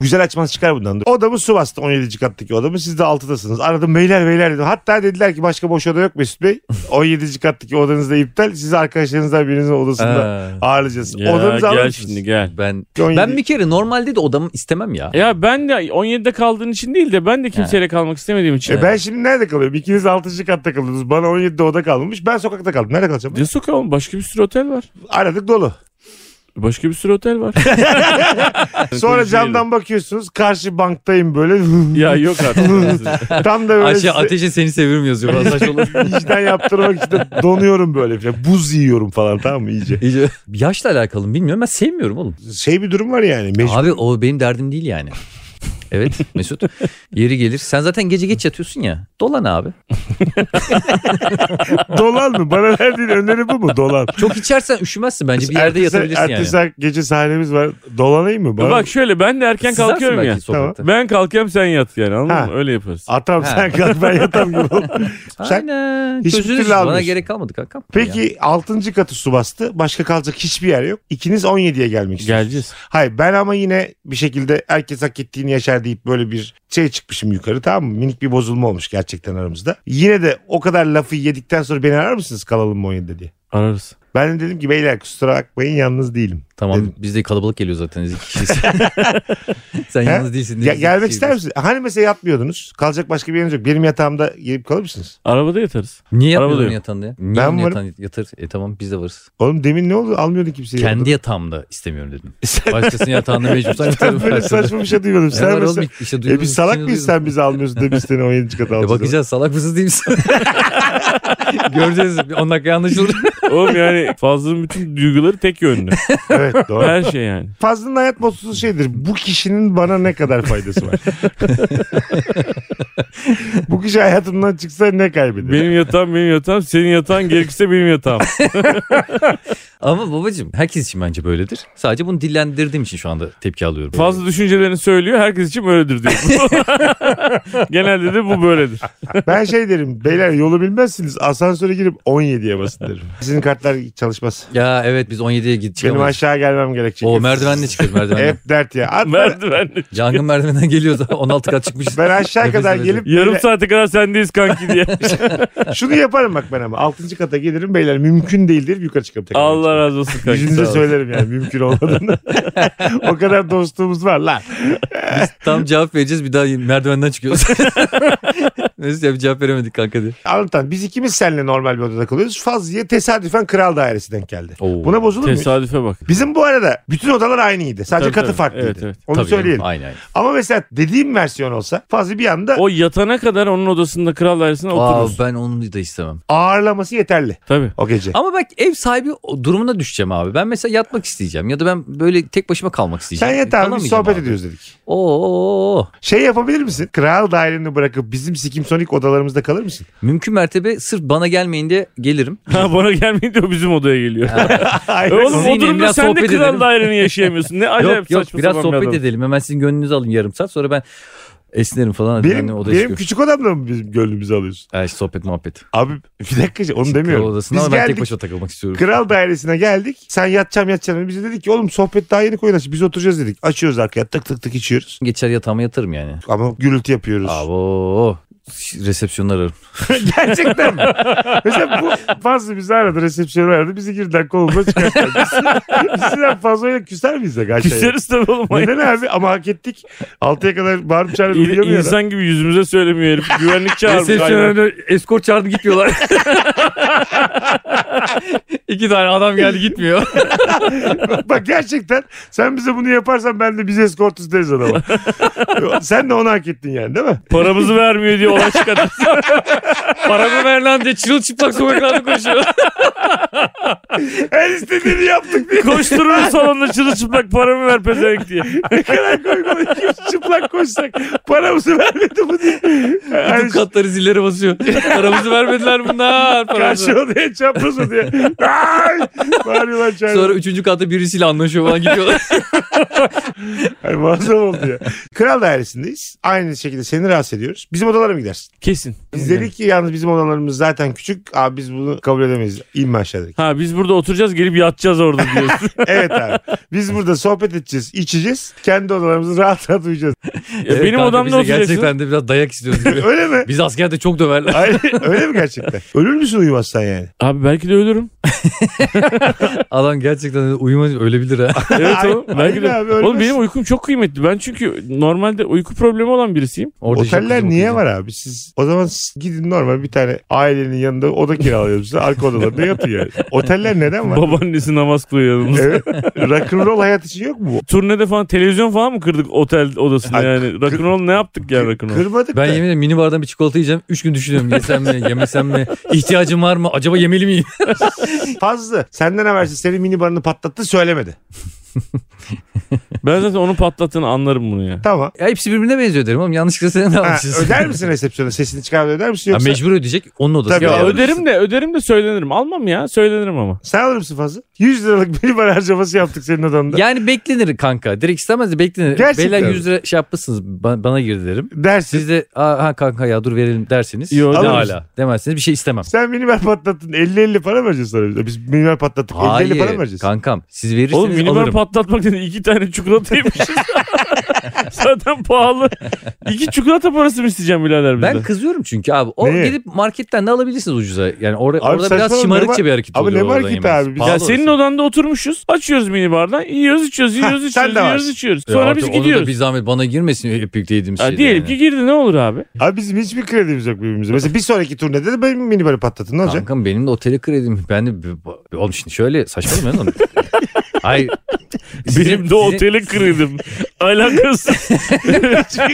[SPEAKER 1] Güzel açmaz çıkar bundan. Dur. Odamı su bastı 17. kattaki odamı. Siz de 6'dasınız. Aradım beyler beyler dedim. Hatta dediler ki başka boş oda yok Mesut
[SPEAKER 2] [laughs]
[SPEAKER 1] Bey. 17. kattaki odanızda iptal. Sizi arkadaşlarınızdan birinizin odasında ağırlayacağız. Odanızı alır
[SPEAKER 3] gel
[SPEAKER 1] mısınız?
[SPEAKER 3] şimdi gel.
[SPEAKER 2] ben
[SPEAKER 1] 17.
[SPEAKER 2] ben bir kere normalde de odamı istemem ya.
[SPEAKER 3] Ya ben de 17'de kaldığın için değil de ben de kimseyle kalmak istemediğim için.
[SPEAKER 1] E ben şimdi nerede kalıyorum? İkiniz 6. katta kaldınız. Bana 17'de oda kalmış. Ben sokakta kaldım. Nerede kalacağım?
[SPEAKER 3] Ne sokağı oğlum? Başka bir sürü otel var.
[SPEAKER 1] Aradık
[SPEAKER 2] [laughs]
[SPEAKER 1] dolu.
[SPEAKER 3] Başka bir sürü otel var. [laughs]
[SPEAKER 1] Sonra camdan bakıyorsunuz. Karşı banktayım böyle. [laughs]
[SPEAKER 3] Ya yok artık.
[SPEAKER 1] Tam da böyle
[SPEAKER 2] Ayşe
[SPEAKER 1] size
[SPEAKER 2] ateşe seni seviyorum yazıyor. Biraz saçma olur.
[SPEAKER 1] [laughs] vicdan yaptırmak için de donuyorum böyle. filan. Buz yiyorum falan tamam mı iyice.
[SPEAKER 2] [laughs] İyice- Yaşla alakalı mı bilmiyorum ben sevmiyorum oğlum.
[SPEAKER 1] Şey bir durum var yani. Mecbur.
[SPEAKER 2] Abi o benim derdim değil yani. Evet Mesut yeri gelir. Sen zaten gece geç yatıyorsun ya. Dolan abi.
[SPEAKER 1] Dolan mı? Bana
[SPEAKER 2] [laughs]
[SPEAKER 1] verdiğin öneri bu mu? Dolan.
[SPEAKER 2] Çok içersen üşümezsin bence bir yerde
[SPEAKER 1] Ertesi-
[SPEAKER 2] yatabilirsin yani.
[SPEAKER 1] ertesi gece sahnemiz var. Dolanayım mı? Bana...
[SPEAKER 3] Bak şöyle ben de erken
[SPEAKER 2] Sızarsın
[SPEAKER 3] kalkıyorum
[SPEAKER 2] belki
[SPEAKER 3] ya.
[SPEAKER 2] sokakta.
[SPEAKER 3] Ben kalkıyorum sen yat yani anladın
[SPEAKER 1] Ha.
[SPEAKER 3] mı? Öyle yaparız.
[SPEAKER 1] Atam
[SPEAKER 2] Ha.
[SPEAKER 1] sen kalk ben
[SPEAKER 2] [laughs]
[SPEAKER 1] yatam gibi ol. Sen...
[SPEAKER 2] Aynen.
[SPEAKER 1] hiçbir
[SPEAKER 2] Çözülür.
[SPEAKER 1] türlü
[SPEAKER 2] Bana
[SPEAKER 1] almıyorsun.
[SPEAKER 2] gerek kalmadı kankam. Ya.
[SPEAKER 1] Peki 6. katı su bastı. Başka kalacak hiçbir yer yok. İkiniz 17'ye gelmek istiyorsunuz.
[SPEAKER 3] Geleceğiz.
[SPEAKER 1] Hayır ben ama yine bir şekilde herkes hak ettiğini yaşar deyip böyle bir şey çıkmışım yukarı tamam mı? Minik bir bozulma olmuş gerçekten aramızda. Yine de o kadar lafı yedikten sonra beni arar mısınız kalalım mı 17'de diye.
[SPEAKER 3] Ararız.
[SPEAKER 1] Ben de dedim ki beyler kusura bakmayın yalnız değilim.
[SPEAKER 2] Tamam bizde kalabalık geliyor zaten. biz iki
[SPEAKER 1] [laughs]
[SPEAKER 2] kişiyiz. Sen
[SPEAKER 1] He?
[SPEAKER 2] yalnız değilsin.
[SPEAKER 1] Ya,
[SPEAKER 2] biz iki
[SPEAKER 1] gelmek
[SPEAKER 2] kişiyiz.
[SPEAKER 1] ister misiniz? Hani mesela yatmıyordunuz. Kalacak başka bir yeriniz yok. Benim yatağımda gelip kalır mısınız?
[SPEAKER 3] Arabada yatarız.
[SPEAKER 2] Niye
[SPEAKER 3] Arabada
[SPEAKER 2] yapmıyorsun
[SPEAKER 3] yok.
[SPEAKER 2] yatağında ya? Niye
[SPEAKER 1] Ben
[SPEAKER 2] ben
[SPEAKER 1] varım.
[SPEAKER 2] yatağın yatır? E tamam biz de varız.
[SPEAKER 1] Oğlum demin ne oldu? Almıyordun kimseyi.
[SPEAKER 2] Kendi
[SPEAKER 1] yanında.
[SPEAKER 2] yatağımda
[SPEAKER 1] [laughs]
[SPEAKER 2] istemiyorum dedim. Başkasının yatağında mecbursan yatarım.
[SPEAKER 1] Böyle saçma bir şey duymadım.
[SPEAKER 2] Ne var
[SPEAKER 1] Sen
[SPEAKER 2] oğlum?
[SPEAKER 1] mesela...
[SPEAKER 2] İşte
[SPEAKER 1] E
[SPEAKER 2] duyuyoruz,
[SPEAKER 1] biz salak
[SPEAKER 2] içini
[SPEAKER 1] mıyız
[SPEAKER 2] duyuyoruz.
[SPEAKER 1] sen bizi almıyorsun da biz seni 17. kata
[SPEAKER 2] E
[SPEAKER 1] alacağız.
[SPEAKER 2] bakacağız salak mısınız değil misin? [laughs] Göreceğiz. Bir 10 dakika anlaşılır.
[SPEAKER 3] Oğlum yani Fazlı'nın bütün duyguları tek yönlü.
[SPEAKER 1] Evet
[SPEAKER 2] [laughs]
[SPEAKER 1] doğru.
[SPEAKER 3] Her şey yani.
[SPEAKER 1] Fazlının hayat mottosu şeydir. Bu kişinin bana ne kadar faydası
[SPEAKER 3] [laughs]
[SPEAKER 1] var? bu kişi hayatımdan çıksa ne kaybeder?
[SPEAKER 3] Benim yatağım benim yatağım. Senin yatağın gerekirse
[SPEAKER 1] [laughs]
[SPEAKER 3] benim yatağım.
[SPEAKER 2] [laughs] Ama babacığım herkes için bence böyledir. Sadece bunu dillendirdiğim için şu anda tepki alıyorum.
[SPEAKER 3] Fazla düşüncelerini söylüyor. Herkes için böyledir diyor. [laughs] Genelde de bu böyledir.
[SPEAKER 1] Ben şey derim. Beyler yolu bilmezsiniz. Asansöre girip 17'ye basın derim. Sizin kartlar çalışmaz.
[SPEAKER 2] Ya evet biz 17'ye gideceğiz.
[SPEAKER 3] Şey
[SPEAKER 1] Benim aşağı gelmem gerekecek.
[SPEAKER 2] O merdivenle
[SPEAKER 1] [laughs]
[SPEAKER 2] çıkıyoruz merdivenle.
[SPEAKER 1] Hep dert ya. Hatta
[SPEAKER 3] Merdivenle.
[SPEAKER 2] Yangın merdivenden geliyoruz. [laughs] 16 kat çıkmış.
[SPEAKER 1] ben aşağı
[SPEAKER 2] Nefes
[SPEAKER 1] kadar
[SPEAKER 2] nefese.
[SPEAKER 1] gelip
[SPEAKER 3] Yarım
[SPEAKER 1] böyle-
[SPEAKER 3] saate kadar sendeyiz
[SPEAKER 1] [laughs]
[SPEAKER 3] kanki diye.
[SPEAKER 1] [laughs] şunu yaparım bak ben ama. 6. kata gelirim beyler mümkün değildir yukarı çıkarım tekrar.
[SPEAKER 3] Allah razı olsun kanki.
[SPEAKER 1] Yüzünüze
[SPEAKER 3] Sağ ol.
[SPEAKER 1] söylerim yani mümkün olmadığını.
[SPEAKER 3] [laughs]
[SPEAKER 1] o kadar dostluğumuz var lan. [laughs]
[SPEAKER 2] Tam cevap vereceğiz bir daha merdivenden çıkıyoruz. Mesut abi cevap veremedik kanka diye.
[SPEAKER 1] Anlatan biz ikimiz seninle normal bir odada kalıyoruz. Fazlı'ya tesadüfen kral dairesi denk geldi.
[SPEAKER 2] Oo.
[SPEAKER 1] Buna bozulur mu?
[SPEAKER 3] Tesadüfe bak.
[SPEAKER 1] Bizim bu arada bütün odalar aynıydı. Sadece
[SPEAKER 3] Tabii,
[SPEAKER 1] katı
[SPEAKER 3] tabii.
[SPEAKER 1] farklıydı.
[SPEAKER 3] Evet, evet.
[SPEAKER 1] Onu
[SPEAKER 2] Tabii canım,
[SPEAKER 1] söyleyelim.
[SPEAKER 2] Aynen. aynen.
[SPEAKER 1] Ama mesela dediğim versiyon olsa Fazlı bir anda
[SPEAKER 3] O yatana kadar onun odasında kral dairesine
[SPEAKER 2] Aa,
[SPEAKER 3] otururuz.
[SPEAKER 2] ben onu da istemem.
[SPEAKER 1] ağırlaması yeterli
[SPEAKER 3] Tabii.
[SPEAKER 1] o gece.
[SPEAKER 2] Ama bak ev sahibi o durumuna düşeceğim abi. Ben mesela yatmak isteyeceğim ya da ben böyle tek başıma kalmak
[SPEAKER 1] Sen
[SPEAKER 2] isteyeceğim.
[SPEAKER 1] yat abi biz
[SPEAKER 2] Kalamayacağım
[SPEAKER 1] sohbet ediyoruz dedik.
[SPEAKER 2] Oo.
[SPEAKER 1] Şey yapabilir misin? Kral daireni bırakıp bizim Sikim Sonic odalarımızda kalır
[SPEAKER 2] [laughs]
[SPEAKER 1] mısın?
[SPEAKER 2] Mümkün mertebe sırf bana gelmeyin diye
[SPEAKER 1] [laughs]
[SPEAKER 2] gelirim.
[SPEAKER 3] Ha bana gelmeyin diyor bizim odaya geliyor. E
[SPEAKER 1] Hayır.
[SPEAKER 3] Oğlum
[SPEAKER 2] Sizinle
[SPEAKER 3] o durumda
[SPEAKER 2] biraz
[SPEAKER 3] sen de
[SPEAKER 2] sohbet
[SPEAKER 3] kral
[SPEAKER 2] edelim.
[SPEAKER 3] daireni yaşayamıyorsun. Ne acayip
[SPEAKER 2] yok yok
[SPEAKER 3] saçma
[SPEAKER 2] biraz
[SPEAKER 3] sapan bir
[SPEAKER 2] sohbet
[SPEAKER 3] adam.
[SPEAKER 2] edelim. Hemen sizin gönlünüzü alayım yarım saat sonra ben esnerim falan.
[SPEAKER 1] Benim,
[SPEAKER 2] Yani odaya
[SPEAKER 1] benim
[SPEAKER 2] çıkıyorum.
[SPEAKER 1] küçük odamda mı bizim gönlümüzü alıyorsun?
[SPEAKER 2] Ha, işte sohbet muhabbet.
[SPEAKER 1] Abi bir dakika onu
[SPEAKER 2] Kral
[SPEAKER 1] demiyorum.
[SPEAKER 2] odasına
[SPEAKER 1] Biz
[SPEAKER 2] ama ben tek
[SPEAKER 1] geldik
[SPEAKER 2] başıma takılmak istiyorum.
[SPEAKER 1] Kral dairesine geldik. Sen yatacağım yatacağım. Bize dedik ki oğlum sohbet daha yeni koyun aç. Biz oturacağız dedik. Açıyoruz arkaya tık tık tık içiyoruz.
[SPEAKER 2] Geçer yatağıma yatarım yani.
[SPEAKER 1] Ama gürültü yapıyoruz.
[SPEAKER 2] Abo. Resepsiyonu ararım.
[SPEAKER 1] [laughs] Gerçekten mi? Mesela bu fazla bizi aradı. Resepsiyonu aradı. Bizi girden kolumda çıkarttılar. Biz, biz sizden fazlayla küser miyiz de karşıya?
[SPEAKER 3] Küseriz tabii oğlum.
[SPEAKER 1] Neden abi? Ama hak ettik. Altıya kadar bağırıp çağırıp
[SPEAKER 3] İl-
[SPEAKER 1] biliyor mu ya?
[SPEAKER 3] İnsan gibi yüzümüze söylemiyor herif. Güvenlik çağırmış. aynen.
[SPEAKER 2] eskort çağırdı
[SPEAKER 3] [laughs]
[SPEAKER 2] gitmiyorlar. İki tane adam geldi gitmiyor.
[SPEAKER 1] [laughs] Bak gerçekten sen bize bunu yaparsan ben de bize eskortuz deriz adama. sen de onu hak ettin yani değil mi?
[SPEAKER 3] Paramızı vermiyor diye olay çıkartırsın.
[SPEAKER 2] Paramı ver lan diye çırılçıplak [laughs] sokaklarda koşuyor.
[SPEAKER 1] Her istediğini yaptık diye.
[SPEAKER 3] Koşturur salonda çırılçıplak paramı ver pezevenk diye.
[SPEAKER 1] ne kadar koymalı. Çıplak koşsak paramızı vermedi bu diye.
[SPEAKER 2] Bütün
[SPEAKER 1] Yani
[SPEAKER 2] katları
[SPEAKER 1] [laughs]
[SPEAKER 2] zillere basıyor. Paramızı vermediler bunlar. Paramızı.
[SPEAKER 1] karşı odaya çapraz odaya. Ay! Bağırıyorlar çağırıyorlar.
[SPEAKER 2] Sonra üçüncü katta birisiyle anlaşıyor falan
[SPEAKER 1] [laughs]
[SPEAKER 2] gidiyorlar.
[SPEAKER 1] Ay muazzam oldu ya. Kral dairesindeyiz. Aynı şekilde seni rahatsız ediyoruz. Bizim odalara mı gidersin?
[SPEAKER 3] Kesin.
[SPEAKER 1] Biz dedik ki yalnız bizim odalarımız zaten küçük. Abi biz bunu kabul edemeyiz. İnme aşağı dedik.
[SPEAKER 3] Ha biz burada oturacağız gelip yatacağız orada diyorsun.
[SPEAKER 1] Evet abi. Biz burada sohbet edeceğiz, içeceğiz. Kendi odalarımızı rahat rahat uyuyacağız.
[SPEAKER 3] Ya
[SPEAKER 2] [laughs] Evet,
[SPEAKER 3] benim
[SPEAKER 2] kanka, biz
[SPEAKER 3] odamda
[SPEAKER 2] de
[SPEAKER 3] oturacaksın.
[SPEAKER 2] Gerçekten de biraz dayak istiyoruz gibi.
[SPEAKER 1] Öyle
[SPEAKER 2] [laughs]
[SPEAKER 1] mi?
[SPEAKER 2] Biz askerde
[SPEAKER 1] [laughs]
[SPEAKER 2] çok döverler.
[SPEAKER 1] Hayır, öyle mi gerçekten? Ölür müsün uyumazsan yani?
[SPEAKER 3] Abi belki de ölürüm.
[SPEAKER 2] Adam gerçekten uyumaz
[SPEAKER 1] [laughs]
[SPEAKER 2] ölebilir ha. [laughs]
[SPEAKER 3] Evet oğlum.
[SPEAKER 1] Ay-
[SPEAKER 3] belki de.
[SPEAKER 1] aynen abi,
[SPEAKER 3] oğlum
[SPEAKER 1] ölmez.
[SPEAKER 3] benim uykum çok kıymetli. Ben çünkü normalde uyku problemi olan birisiyim.
[SPEAKER 2] Orada
[SPEAKER 1] Oteller
[SPEAKER 2] şapkacı
[SPEAKER 1] niye
[SPEAKER 2] bakıyor.
[SPEAKER 1] var abi? Siz o zaman siz gidin normal bir tane ailenin yanında oda kiralıyorsunuz. Size Arka odalarında yatın yani. Oteller neden var?
[SPEAKER 3] Babaannesi namaz kılıyor yanımızda.
[SPEAKER 1] evet. Rock'n'roll hayat için yok mu?
[SPEAKER 3] Turnede falan televizyon falan mı kırdık otel odasında
[SPEAKER 1] Ay,
[SPEAKER 3] yani? Rock'n'roll ne yaptık ya rock'n'roll?
[SPEAKER 1] Kırmadık
[SPEAKER 2] Ben
[SPEAKER 1] da.
[SPEAKER 2] yemin ederim mini bardan bir çikolata yiyeceğim. Üç gün düşünüyorum yesem mi yemesem mi? İhtiyacım var mı? Acaba yemeli miyim? [laughs]
[SPEAKER 1] Fazla. Senden habersiz senin mini barını patlattı söylemedi.
[SPEAKER 3] Ben zaten onu patlattığını anlarım bunu ya.
[SPEAKER 1] Tamam.
[SPEAKER 2] ya hepsi birbirine benziyor derim oğlum. Yanlışlıkla seni de
[SPEAKER 1] Ha,
[SPEAKER 2] almışız.
[SPEAKER 1] öder misin resepsiyona? Sesini çıkarıp öder misin
[SPEAKER 2] Ya
[SPEAKER 1] yoksa?
[SPEAKER 2] mecbur ödeyecek. Onun odası.
[SPEAKER 1] Tabii.
[SPEAKER 2] Ya
[SPEAKER 3] Ya
[SPEAKER 1] Yalnız.
[SPEAKER 3] öderim de öderim de söylenirim. Almam ya söylenirim ama.
[SPEAKER 1] Sen alır mısın fazla? 100 liralık mini bar harcaması yaptık senin odanda.
[SPEAKER 2] Yani beklenir kanka. Direkt istemez de beklenir.
[SPEAKER 1] Gerçekten
[SPEAKER 2] Beyler
[SPEAKER 1] mi?
[SPEAKER 2] 100 lira şey yapmışsınız ba- bana girdi derim.
[SPEAKER 1] Dersin.
[SPEAKER 2] Siz de "Aa, ha kanka ya dur verelim dersiniz.
[SPEAKER 3] Yo,
[SPEAKER 2] ne
[SPEAKER 1] alırız.
[SPEAKER 2] hala demezseniz bir şey istemem.
[SPEAKER 1] Sen minibar patlattın 50-50 para mı vereceğiz sana? bize? Biz minibar patlattık 50-50 para mı
[SPEAKER 2] Hayır
[SPEAKER 1] vereceğiz?
[SPEAKER 2] kankam siz verirseniz
[SPEAKER 3] Oğlum minibar
[SPEAKER 2] alırım.
[SPEAKER 3] patlatmak dedi iki tane
[SPEAKER 2] [laughs]
[SPEAKER 3] çikolata yemişiz. zaten pahalı. İki çikolata parası mı isteyeceğim birader bizden?
[SPEAKER 2] ben kızıyorum çünkü abi. O
[SPEAKER 1] Neye?
[SPEAKER 2] gidip marketten de alabilirsiniz ucuza. Yani or- orada
[SPEAKER 1] saçmalama,
[SPEAKER 2] biraz
[SPEAKER 1] ne
[SPEAKER 2] şımarıkça
[SPEAKER 1] mar-
[SPEAKER 2] bir hareket
[SPEAKER 1] Abi
[SPEAKER 2] oluyor.
[SPEAKER 1] ne
[SPEAKER 2] orada
[SPEAKER 1] marketi
[SPEAKER 2] yemeniz.
[SPEAKER 1] abi? Ya
[SPEAKER 2] Pahalı
[SPEAKER 3] ya
[SPEAKER 2] orası.
[SPEAKER 3] senin odanda oturmuşuz. Açıyoruz minibardan. Yiyoruz içiyoruz yiyoruz
[SPEAKER 1] sen
[SPEAKER 3] içiyoruz
[SPEAKER 1] de
[SPEAKER 3] yiyoruz
[SPEAKER 1] varsın.
[SPEAKER 3] içiyoruz.
[SPEAKER 2] Ya
[SPEAKER 3] Sonra
[SPEAKER 2] artık
[SPEAKER 3] biz
[SPEAKER 2] Onu da
[SPEAKER 3] gidiyoruz.
[SPEAKER 2] bir zahmet bana girmesin hep birlikte yediğimiz
[SPEAKER 3] Ha,
[SPEAKER 2] şeyde.
[SPEAKER 3] diyelim
[SPEAKER 2] yani.
[SPEAKER 3] ki girdi ne olur abi?
[SPEAKER 1] Abi bizim hiçbir kredimiz yok birbirimize. Mesela bir sonraki turnede de benim minibarı patlatın ne olacak?
[SPEAKER 2] Kankam benim de oteli kredim. Ben de oğlum şimdi şöyle saçmalama
[SPEAKER 1] [laughs]
[SPEAKER 2] lan. Hayır.
[SPEAKER 3] Benim de
[SPEAKER 1] [laughs]
[SPEAKER 3] otele kredim. Alakasız.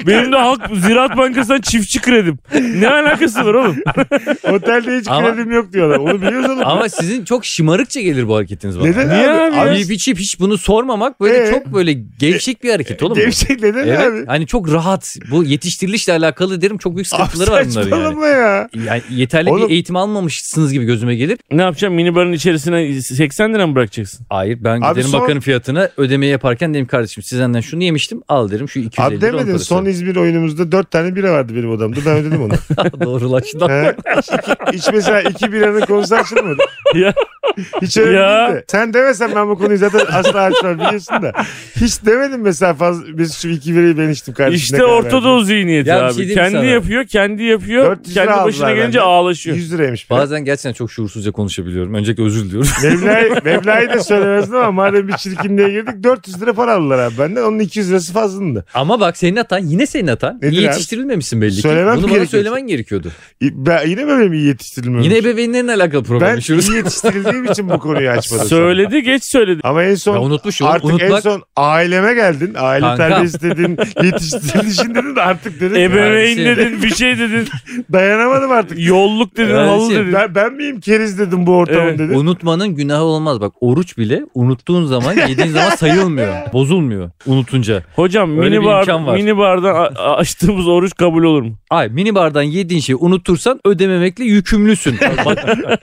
[SPEAKER 3] Benim de Halk Ziraat Bankası'ndan çiftçi kredim. Ne alakası var oğlum?
[SPEAKER 1] Otelde hiç
[SPEAKER 2] Ama-
[SPEAKER 1] kredim yok diyorlar. Onu biliyoruz oğlum.
[SPEAKER 2] Ama sizin çok şımarıkça gelir bu hareketiniz bana.
[SPEAKER 1] Neden
[SPEAKER 3] Niye
[SPEAKER 1] abi?
[SPEAKER 3] abi
[SPEAKER 2] Abi
[SPEAKER 1] abi
[SPEAKER 2] yiyip içip hiç bunu sormamak böyle
[SPEAKER 1] Ee?
[SPEAKER 2] çok böyle gevşek bir hareket oğlum. bu.
[SPEAKER 1] Gevşek neden
[SPEAKER 2] Evet.
[SPEAKER 1] abi?
[SPEAKER 2] Hani çok rahat. Bu yetiştirilişle alakalı derim çok büyük
[SPEAKER 1] Abi
[SPEAKER 2] sıkıntıları var bunların yani.
[SPEAKER 1] saçmalama ya.
[SPEAKER 2] Yani yeterli
[SPEAKER 1] Oğlum-
[SPEAKER 2] bir eğitim almamışsınız gibi gözüme gelir.
[SPEAKER 3] Ne yapacağım minibarın içerisine 80 lira mı bırakacaksın?
[SPEAKER 2] Hayır ben
[SPEAKER 1] Abi
[SPEAKER 2] giderim
[SPEAKER 1] son-
[SPEAKER 2] bakarım fiyatına ödemeyi yaparken derim kardeşim sizden şunu yemiştim al derim şu 250
[SPEAKER 1] Abi
[SPEAKER 2] lira onun
[SPEAKER 1] demedin
[SPEAKER 2] parası. [laughs]
[SPEAKER 1] son İzmir oyunumuzda 4 tane bira vardı benim odamda. Ben ödedim onu.
[SPEAKER 2] Doğrulaştı.
[SPEAKER 1] He? Hiç, iki- hiç mesela iki biranın konusu açılmadı.
[SPEAKER 3] Ya.
[SPEAKER 1] Hiç öyle
[SPEAKER 3] Ya.
[SPEAKER 1] değil de. Sen demesen ben bu konuyu zaten asla açmam biliyorsun da. Hiç demedim mesela fazla. Biz şu iki birayı ben içtim kardeşim. ne
[SPEAKER 3] İşte
[SPEAKER 1] kadar verdim?
[SPEAKER 3] Ortadoğu zihniyeti
[SPEAKER 2] Ya bir
[SPEAKER 3] abi.
[SPEAKER 2] şey diyeyim
[SPEAKER 3] kendi
[SPEAKER 2] sana.
[SPEAKER 3] yapıyor, kendi yapıyor.
[SPEAKER 1] 400 lira
[SPEAKER 3] Kendi başına
[SPEAKER 1] aldılar
[SPEAKER 3] gelince
[SPEAKER 1] benden.
[SPEAKER 3] ağlaşıyor.
[SPEAKER 1] 100 liraymış. be.
[SPEAKER 2] Bazen gerçekten çok şuursuzca konuşabiliyorum. Öncelikle özür diliyorum. [laughs]
[SPEAKER 1] Mevla'yı, Mevla'yı da söylemezdim ama madem bir çirkinliğe girdik 400 lira para aldılar abi benden. Onun 200 8 lirası fazlındı.
[SPEAKER 2] Ama bak senin hatan yine senin hatan.
[SPEAKER 1] Nedir
[SPEAKER 2] İyi
[SPEAKER 1] abi?
[SPEAKER 2] yetiştirilmemişsin belli ki.
[SPEAKER 1] Söylemem
[SPEAKER 2] Bunu bana
[SPEAKER 1] gerekiyorsa.
[SPEAKER 2] söylemen gerekiyordu.
[SPEAKER 1] Ben, yine böyle mi iyi yetiştirilmiyormuş?
[SPEAKER 2] Yine ebeveynlerin alakalı
[SPEAKER 1] ben
[SPEAKER 2] problemi. Şurası.
[SPEAKER 1] iyi yetiştirildiğim için bu konuyu açmadım. sana.
[SPEAKER 3] Söyledi geç söyledi.
[SPEAKER 1] Ama en son
[SPEAKER 2] [laughs] Ya unutmuşum.
[SPEAKER 1] artık en
[SPEAKER 2] Unutmak-
[SPEAKER 1] son aileme geldin. Aile
[SPEAKER 2] Kanka.
[SPEAKER 1] terbiyesi
[SPEAKER 2] [laughs]
[SPEAKER 1] dedin. Yetiştirilişin dedin de artık dedin.
[SPEAKER 3] Ebeveyn
[SPEAKER 2] şey-
[SPEAKER 3] dedin bir
[SPEAKER 1] [laughs]
[SPEAKER 3] şey dedin.
[SPEAKER 1] Dayanamadım
[SPEAKER 2] [laughs]
[SPEAKER 1] artık.
[SPEAKER 3] Yolluk dedin
[SPEAKER 2] Yani
[SPEAKER 3] halı
[SPEAKER 2] şey-
[SPEAKER 3] dedin.
[SPEAKER 1] Ben, ben miyim keriz dedim bu ortamın
[SPEAKER 3] Evet.
[SPEAKER 1] dedin.
[SPEAKER 2] Unutmanın günahı olmaz. Bak oruç bile unuttuğun
[SPEAKER 1] [laughs]
[SPEAKER 2] zaman yediğin zaman sayılmıyor. Bozulmuyor unutunca.
[SPEAKER 3] Hocam
[SPEAKER 2] Öyle
[SPEAKER 3] mini,
[SPEAKER 2] bir
[SPEAKER 3] bar,
[SPEAKER 2] imkan var.
[SPEAKER 3] mini bardan a- a- açtığımız oruç kabul olur mu?
[SPEAKER 2] Ay mini bardan yediğin şeyi unutursan ödememekle yükümlüsün.
[SPEAKER 1] [laughs]
[SPEAKER 2] Bak, sen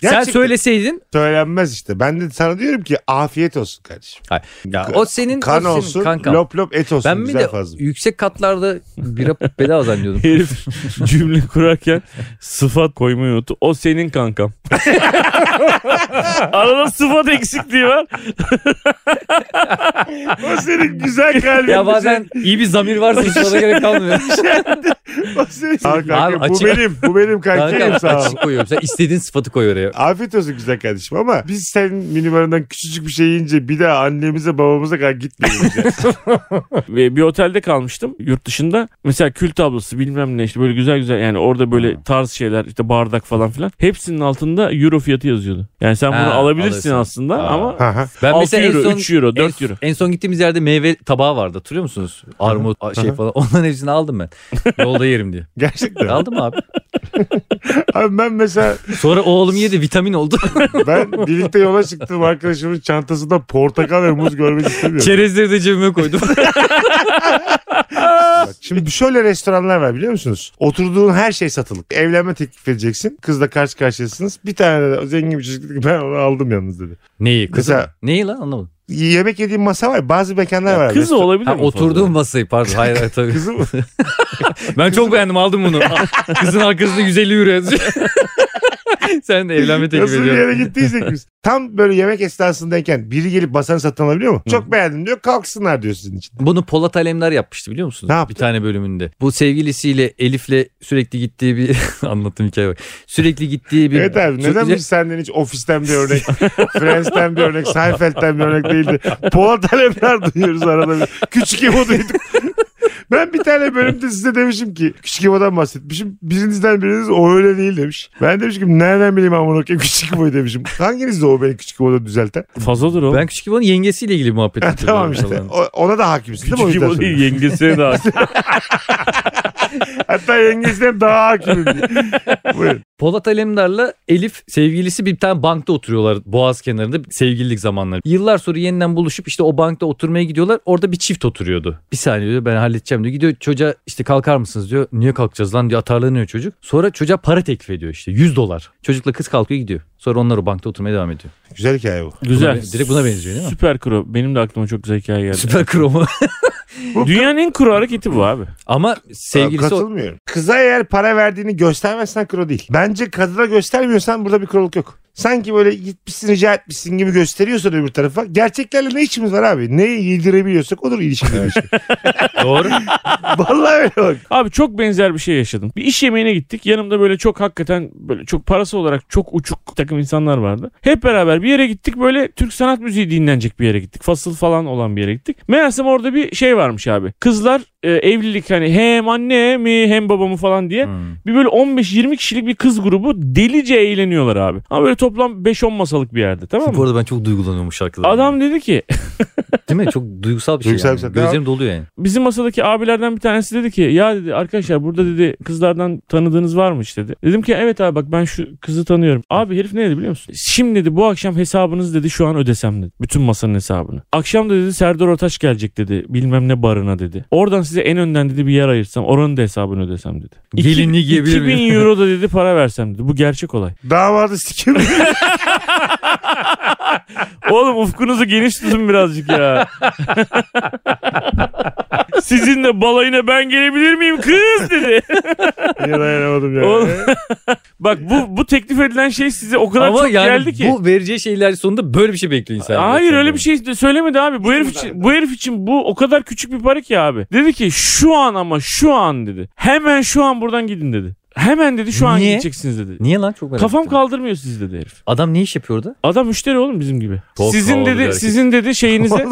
[SPEAKER 1] Gerçekten
[SPEAKER 2] söyleseydin
[SPEAKER 1] Söylenmez işte. Ben de sana diyorum ki afiyet olsun kardeşim.
[SPEAKER 2] Hayır. Ya o senin o
[SPEAKER 1] Kan
[SPEAKER 2] senin
[SPEAKER 1] olsun,
[SPEAKER 2] kankam.
[SPEAKER 1] lop lop et olsun.
[SPEAKER 2] ben mi
[SPEAKER 1] güzel
[SPEAKER 2] de
[SPEAKER 1] fazla.
[SPEAKER 2] yüksek katlarda
[SPEAKER 1] [laughs]
[SPEAKER 2] bira bedava zannediyordum.
[SPEAKER 3] Herif cümle kurarken sıfat koymayı unuttu. O
[SPEAKER 2] [laughs]
[SPEAKER 3] senin kankam. Arada sıfat eksikliği var.
[SPEAKER 1] O senin
[SPEAKER 2] [laughs]
[SPEAKER 1] güzel kalbin.
[SPEAKER 2] ya bazen iyi bir zamir varsa hiç ona
[SPEAKER 1] [laughs]
[SPEAKER 2] gerek kalmıyor.
[SPEAKER 1] O senin... Al kanka,
[SPEAKER 2] Abi
[SPEAKER 1] bu
[SPEAKER 2] açık-
[SPEAKER 1] benim. Bu
[SPEAKER 2] [laughs]
[SPEAKER 1] benim kankayım
[SPEAKER 2] Kanka
[SPEAKER 1] sağ ol.
[SPEAKER 2] açık şey koyuyorum. Sen istediğin sıfatı koy oraya.
[SPEAKER 1] Afiyet olsun güzel kardeşim ama biz senin minibarından küçücük bir şey yiyince bir daha annemize babamıza kadar gitmeyelim. ya.
[SPEAKER 3] Ve bir otelde kalmıştım yurt dışında. Mesela kül tablası bilmem ne işte böyle güzel güzel yani orada böyle tarz şeyler işte bardak falan filan. Hepsinin altında euro fiyatı yazıyordu. Yani sen bunu
[SPEAKER 2] Ha,
[SPEAKER 3] alabilirsin
[SPEAKER 2] alırsın.
[SPEAKER 3] aslında
[SPEAKER 2] Ha.
[SPEAKER 3] ama
[SPEAKER 1] Ha, ha.
[SPEAKER 2] Ben
[SPEAKER 3] Altı
[SPEAKER 2] mesela
[SPEAKER 3] euro,
[SPEAKER 2] en son,
[SPEAKER 3] üç euro, dört
[SPEAKER 2] en,
[SPEAKER 3] euro.
[SPEAKER 2] En son gittiğimiz yerde meyve tabağı vardı hatırlıyor musunuz? Armut a- şey falan. Onların hepsini
[SPEAKER 1] [laughs]
[SPEAKER 2] aldım ben. Yolda yerim diye.
[SPEAKER 1] Gerçekten.
[SPEAKER 2] Aldım abi.
[SPEAKER 1] Abi ben mesela
[SPEAKER 2] Sonra oğlum yedi vitamin oldu.
[SPEAKER 1] ben birlikte yola çıktım arkadaşımın çantasında portakal ve muz görmek istemiyorum.
[SPEAKER 2] Çerezleri de
[SPEAKER 1] [laughs]
[SPEAKER 2] cebime koydum.
[SPEAKER 1] Bak, Şimdi şöyle restoranlar var biliyor musunuz? Oturduğun her şey satılık. Evlenme teklif edeceksin. Kızla karşı karşıyasınız. Bir tane de zengin bir çocuk dedi ki ben onu aldım yalnız dedi.
[SPEAKER 2] Neyi kızım?
[SPEAKER 1] Mesela-
[SPEAKER 2] Neyi lan anlamadım.
[SPEAKER 1] Yemek yediğin masa var. Bazı mekanlar var.
[SPEAKER 3] kız
[SPEAKER 1] Resto-
[SPEAKER 3] olabilir
[SPEAKER 2] Ha,
[SPEAKER 3] mi? fazla?
[SPEAKER 2] oturduğum masayı pardon. Hayır hayır tabii.
[SPEAKER 1] Kızım
[SPEAKER 2] [laughs] Ben çok beğendim
[SPEAKER 1] [laughs]
[SPEAKER 2] aldım bunu. Kızın arkasında 150 euro yazıyor. [laughs] Sen de evlenme teklif
[SPEAKER 1] nasıl bir
[SPEAKER 2] ediyorsun.
[SPEAKER 1] yere gittiysek [laughs] biz. Tam böyle yemek esnasındayken biri gelip masanı satın alabiliyor mu? Çok beğendim diyor. Kalksınlar diyor sizin için.
[SPEAKER 2] Bunu Polat Alemdar yapmıştı biliyor musunuz?
[SPEAKER 1] Ne yaptı?
[SPEAKER 2] Bir tane bölümünde. Bu sevgilisiyle Elif'le sürekli gittiği bir [laughs] anlattığım hikaye var. Sürekli gittiği bir
[SPEAKER 1] Evet abi neden
[SPEAKER 2] Sürekli-
[SPEAKER 1] biz senden hiç ofisten bir [laughs] örnek, Friends'ten bir örnek, Seinfeld'den bir örnek değildi. Polat Alemdar duyuyoruz arada. bir. Küçük Emo duyduk. [laughs] Ben bir tane bölümde size demişim ki Küçük Emo'dan bahsetmişim. Birinizden biriniz o öyle değil demiş. Ben demişim ki nereden bileyim amına koyayım Küçük Emo'yu demişim. Hanginiz de o beni Küçük Emo'da düzelten?
[SPEAKER 3] Fazladır oğlum.
[SPEAKER 2] Ben küçük İbo'nun yengesiyle ilgili bir muhabbet
[SPEAKER 1] Ha,
[SPEAKER 2] hatırlıyorum
[SPEAKER 1] tamam işte.
[SPEAKER 2] falan.
[SPEAKER 1] O- ona da hakimsin değil mi? O
[SPEAKER 3] Küçük
[SPEAKER 1] yüzden
[SPEAKER 3] İbo değil [laughs]
[SPEAKER 1] söylüyorum.
[SPEAKER 2] [laughs]
[SPEAKER 3] yengesine de
[SPEAKER 1] Hatta yengesinden daha [laughs] hakimim. Buyurun.
[SPEAKER 2] Polat Alemdar'la Elif sevgilisi bir tane bankta oturuyorlar Boğaz kenarında sevgililik zamanları. Yıllar sonra yeniden buluşup işte o bankta oturmaya gidiyorlar. Orada bir çift oturuyordu. Bir saniye diyor ben halledeceğim diyor. Gidiyor çocuğa işte kalkar mısınız diyor. Niye kalkacağız lan diyor atarlanıyor çocuk. Sonra çocuğa para teklif ediyor işte 100 dolar. Çocukla kız kalkıyor gidiyor. Sonra onlar o bankta oturmaya devam ediyor.
[SPEAKER 1] Güzel hikaye bu.
[SPEAKER 3] Güzel.
[SPEAKER 2] Buna- direkt buna benziyor değil mi?
[SPEAKER 3] Süper kro. Benim de aklıma çok güzel hikaye geldi.
[SPEAKER 2] Süper kromu.
[SPEAKER 3] Dünyanın en kuru hareketi bu abi.
[SPEAKER 2] [laughs] Ama sevgilisi o-
[SPEAKER 1] Katılmıyorum. Kıza eğer para verdiğini göstermezsen kro değil. Bence kadına göstermiyorsan burada bir kroluk yok. Sanki böyle gitmişsin rica etmişsin gibi gösteriyorsan öbür tarafa. Gerçeklerle ne işimiz var abi? Ne yedirebiliyorsak odur ilişkide bir
[SPEAKER 3] [laughs]
[SPEAKER 1] şey.
[SPEAKER 2] doğru.
[SPEAKER 1] Vallahi öyle bak.
[SPEAKER 3] Abi çok benzer bir şey yaşadım. Bir iş yemeğine gittik. Yanımda böyle çok hakikaten böyle çok parası olarak çok uçuk bir takım insanlar vardı. Hep beraber bir yere gittik. Böyle Türk sanat müziği dinlenecek bir yere gittik. Fasıl falan olan bir yere gittik. Meğersem orada bir şey varmış abi. Kızlar e, evlilik hani hem annemi hem babamı falan diye
[SPEAKER 2] Hmm.
[SPEAKER 3] bir böyle 15-20 kişilik bir kız grubu delice eğleniyorlar abi. Ama böyle toplam 5-10 masalık bir yerde tamam
[SPEAKER 2] Bu
[SPEAKER 3] mı?
[SPEAKER 2] arada ben çok duygulanıyorum bu şarkıda.
[SPEAKER 3] Adam dedi ki
[SPEAKER 2] Değil mi? Çok duygusal bir şey.
[SPEAKER 1] Duygusal
[SPEAKER 2] yani.
[SPEAKER 1] bir şey.
[SPEAKER 2] Gözlerim doluyor yani.
[SPEAKER 3] Bizim masadaki abilerden bir tanesi dedi ki ya dedi arkadaşlar burada dedi kızlardan tanıdığınız varmış dedi. Dedim ki evet abi bak ben şu kızı tanıyorum. Abi herif ne dedi biliyor musun? Şimdi dedi bu akşam hesabınız dedi şu an ödesem dedi. Bütün masanın hesabını. Akşam da dedi Serdar Ortaç gelecek dedi bilmem ne barına dedi. Oradan size en önden dedi bir yer ayırsam oranın da hesabını ödesem dedi. İki-
[SPEAKER 2] Gelinliği giyebilir miyim?
[SPEAKER 3] 2000 euro da dedi para versem dedi. Bu
[SPEAKER 2] [laughs]
[SPEAKER 3] gerçek olay.
[SPEAKER 1] Damadı sikim. [laughs]
[SPEAKER 3] Oğlum ufkunuzu geniş tutun
[SPEAKER 2] [laughs]
[SPEAKER 3] birazcık ya. Sizinle balayına ben gelebilir miyim kız dedi.
[SPEAKER 1] Niye dayanamadım ya.
[SPEAKER 3] Oğlum. Bak bu bu teklif edilen şey size o kadar
[SPEAKER 2] Ama
[SPEAKER 3] çok
[SPEAKER 2] yani
[SPEAKER 3] geldi ki.
[SPEAKER 2] bu vereceği şeyler sonunda böyle bir şey bekliyor insan.
[SPEAKER 3] Hayır
[SPEAKER 2] Sanırım.
[SPEAKER 3] öyle bir şey de söylemedi abi. Bu herif için bu herif için bu o kadar küçük bir para ki abi. Dedi ki şu an ama şu an dedi. Hemen şu an buradan gidin dedi. Hemen dedi şu an
[SPEAKER 2] Niye?
[SPEAKER 3] gideceksiniz dedi.
[SPEAKER 2] Niye lan çok merak
[SPEAKER 3] Kafam
[SPEAKER 2] ettim.
[SPEAKER 3] kaldırmıyor siz dedi herif.
[SPEAKER 2] Adam ne iş yapıyor orada?
[SPEAKER 3] Adam müşteri oğlum bizim gibi.
[SPEAKER 2] Çok
[SPEAKER 3] sizin
[SPEAKER 2] havalı bir
[SPEAKER 3] dedi
[SPEAKER 2] hareket.
[SPEAKER 3] sizin dedi şeyinize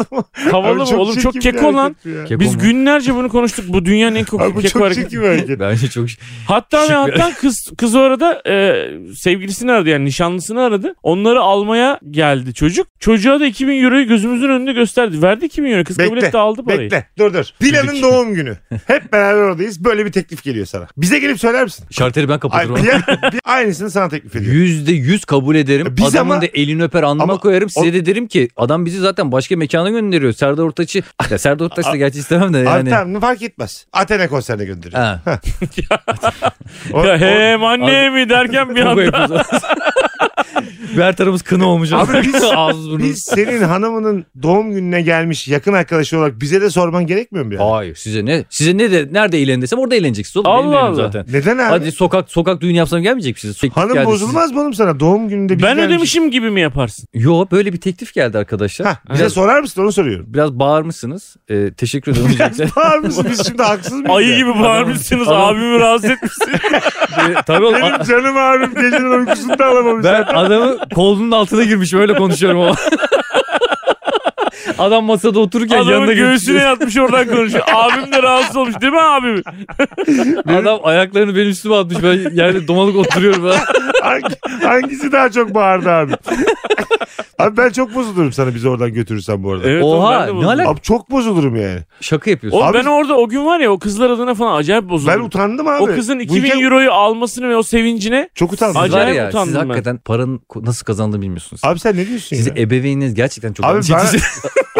[SPEAKER 3] havalı mı oğlum çok keko lan.
[SPEAKER 2] Keko
[SPEAKER 3] Biz
[SPEAKER 2] mu?
[SPEAKER 3] günlerce bunu konuştuk. Bu dünyanın en
[SPEAKER 1] Abi
[SPEAKER 3] keko,
[SPEAKER 1] bu
[SPEAKER 3] keko
[SPEAKER 1] çok
[SPEAKER 3] hareketi.
[SPEAKER 1] çirkin bir hareket.
[SPEAKER 2] Bence çok
[SPEAKER 3] Hatta
[SPEAKER 2] Şık
[SPEAKER 3] ve
[SPEAKER 2] bir-
[SPEAKER 3] hatta kız kız o arada e, sevgilisini aradı yani nişanlısını aradı. Onları almaya geldi çocuk. Çocuğa da 2000 euroyu gözümüzün önünde gösterdi. Verdi 2000 euro. Kız kabul
[SPEAKER 1] Bekle,
[SPEAKER 3] etti aldı parayı.
[SPEAKER 1] Bekle dur dur. Dilan'ın doğum günü. Hep beraber oradayız. Böyle bir teklif geliyor sana. Bize gelip söyler misin?
[SPEAKER 2] şartları ben
[SPEAKER 1] Ay,
[SPEAKER 2] kapatırım.
[SPEAKER 1] bir- bir- aynısını sana teklif ediyor.
[SPEAKER 2] Yüzde yüz kabul ederim.
[SPEAKER 1] Biz
[SPEAKER 2] Adamın
[SPEAKER 1] ama-
[SPEAKER 2] da elini öper alnıma
[SPEAKER 1] Ama-
[SPEAKER 2] koyarım. Size de derim ki adam bizi zaten başka mekana gönderiyor. Serdar Ortaç'ı. Ya Serdar Ortaç'ı da gerçi istemem de
[SPEAKER 1] Abi
[SPEAKER 2] yani.
[SPEAKER 1] tamam fark etmez. Athena konserine gönderiyor.
[SPEAKER 2] Ha.
[SPEAKER 1] O-
[SPEAKER 3] Ya
[SPEAKER 1] o-
[SPEAKER 3] hem anne mi
[SPEAKER 1] [laughs]
[SPEAKER 2] [laughs]
[SPEAKER 3] derken bir anda.
[SPEAKER 2] Bir her tarafımız kına olmuş.
[SPEAKER 1] Abi biz-
[SPEAKER 2] [laughs] Ağzımız burnumuz.
[SPEAKER 1] Biz senin hanımının doğum gününe gelmiş yakın arkadaşı olarak bize de sorman gerekmiyor mu yani?
[SPEAKER 2] Hayır size ne? Size ne de nerede eğlen desem orada eğleneceksiniz oğlum. Benim
[SPEAKER 3] Allah
[SPEAKER 2] yerim
[SPEAKER 3] Allah.
[SPEAKER 2] zaten.
[SPEAKER 1] Neden abi?
[SPEAKER 2] Hadi sokak sokak düğün yapsam gelmeyecek mi size? Teklif
[SPEAKER 1] Hanım
[SPEAKER 2] geldi
[SPEAKER 1] bozulmaz mı oğlum sana? Doğum gününde biz
[SPEAKER 3] ben
[SPEAKER 1] gelmişiz.
[SPEAKER 3] ödemişim gibi mi yaparsın?
[SPEAKER 2] size. Yo böyle bir teklif geldi arkadaşlar.
[SPEAKER 1] Hah, bize sorar mısın onu
[SPEAKER 2] [laughs]
[SPEAKER 1] soruyorum.
[SPEAKER 2] Biraz bağırmışsınız. Ee, teşekkür ederim.
[SPEAKER 1] Bağır mısın? Biz şimdi haksız mıyız?
[SPEAKER 3] Ayı
[SPEAKER 1] ya?
[SPEAKER 3] gibi bağırmışsınız
[SPEAKER 2] Adam-
[SPEAKER 3] abimi
[SPEAKER 1] [laughs]
[SPEAKER 3] rahatsız etmişsiniz. [laughs]
[SPEAKER 2] Ee, Tabii oğlum.
[SPEAKER 1] Benim canım abim gecenin uykusunu da alamamış.
[SPEAKER 2] Ben adamı kolunun altına girmiş öyle konuşuyorum ama. [laughs] Adam masada otururken yanına
[SPEAKER 3] Adamın
[SPEAKER 2] girmiş.
[SPEAKER 3] göğsüne yatmış oradan
[SPEAKER 1] [laughs]
[SPEAKER 3] konuşuyor. Abim de rahatsız olmuş değil mi abim?
[SPEAKER 2] Adam ayaklarını benim üstüme atmış. Ben yerde domalık oturuyorum.
[SPEAKER 1] Hangi- hangisi daha çok bağırdı abi? abi ben çok bozulurum sana bizi oradan götürürsen bu arada.
[SPEAKER 3] Evet, oğlum,
[SPEAKER 2] Oha,
[SPEAKER 3] ben de
[SPEAKER 2] ne
[SPEAKER 3] bozdum.
[SPEAKER 2] alaka?
[SPEAKER 1] Abi çok bozulurum yani.
[SPEAKER 2] Şaka yapıyorsun.
[SPEAKER 3] Oğlum
[SPEAKER 1] Abi-
[SPEAKER 3] ben orada o gün var ya o kızlar adına falan acayip bozuldum.
[SPEAKER 1] Ben utandım abi.
[SPEAKER 3] o kızın
[SPEAKER 1] Bu
[SPEAKER 3] 2000
[SPEAKER 1] hikaye-
[SPEAKER 3] euroyu almasını ve o sevincine
[SPEAKER 1] Çok utandım.
[SPEAKER 2] Siz var
[SPEAKER 3] Acayip
[SPEAKER 2] ya siz
[SPEAKER 3] utandım ben.
[SPEAKER 2] hakikaten paranın ko- nasıl kazandığını bilmiyorsunuz.
[SPEAKER 1] Abi sen ne diyorsun
[SPEAKER 2] Sizi
[SPEAKER 1] ya?
[SPEAKER 3] e-
[SPEAKER 2] ebeveyniniz gerçekten çok
[SPEAKER 1] Abi
[SPEAKER 2] acı
[SPEAKER 1] ben-
[SPEAKER 2] çekici.
[SPEAKER 1] [laughs]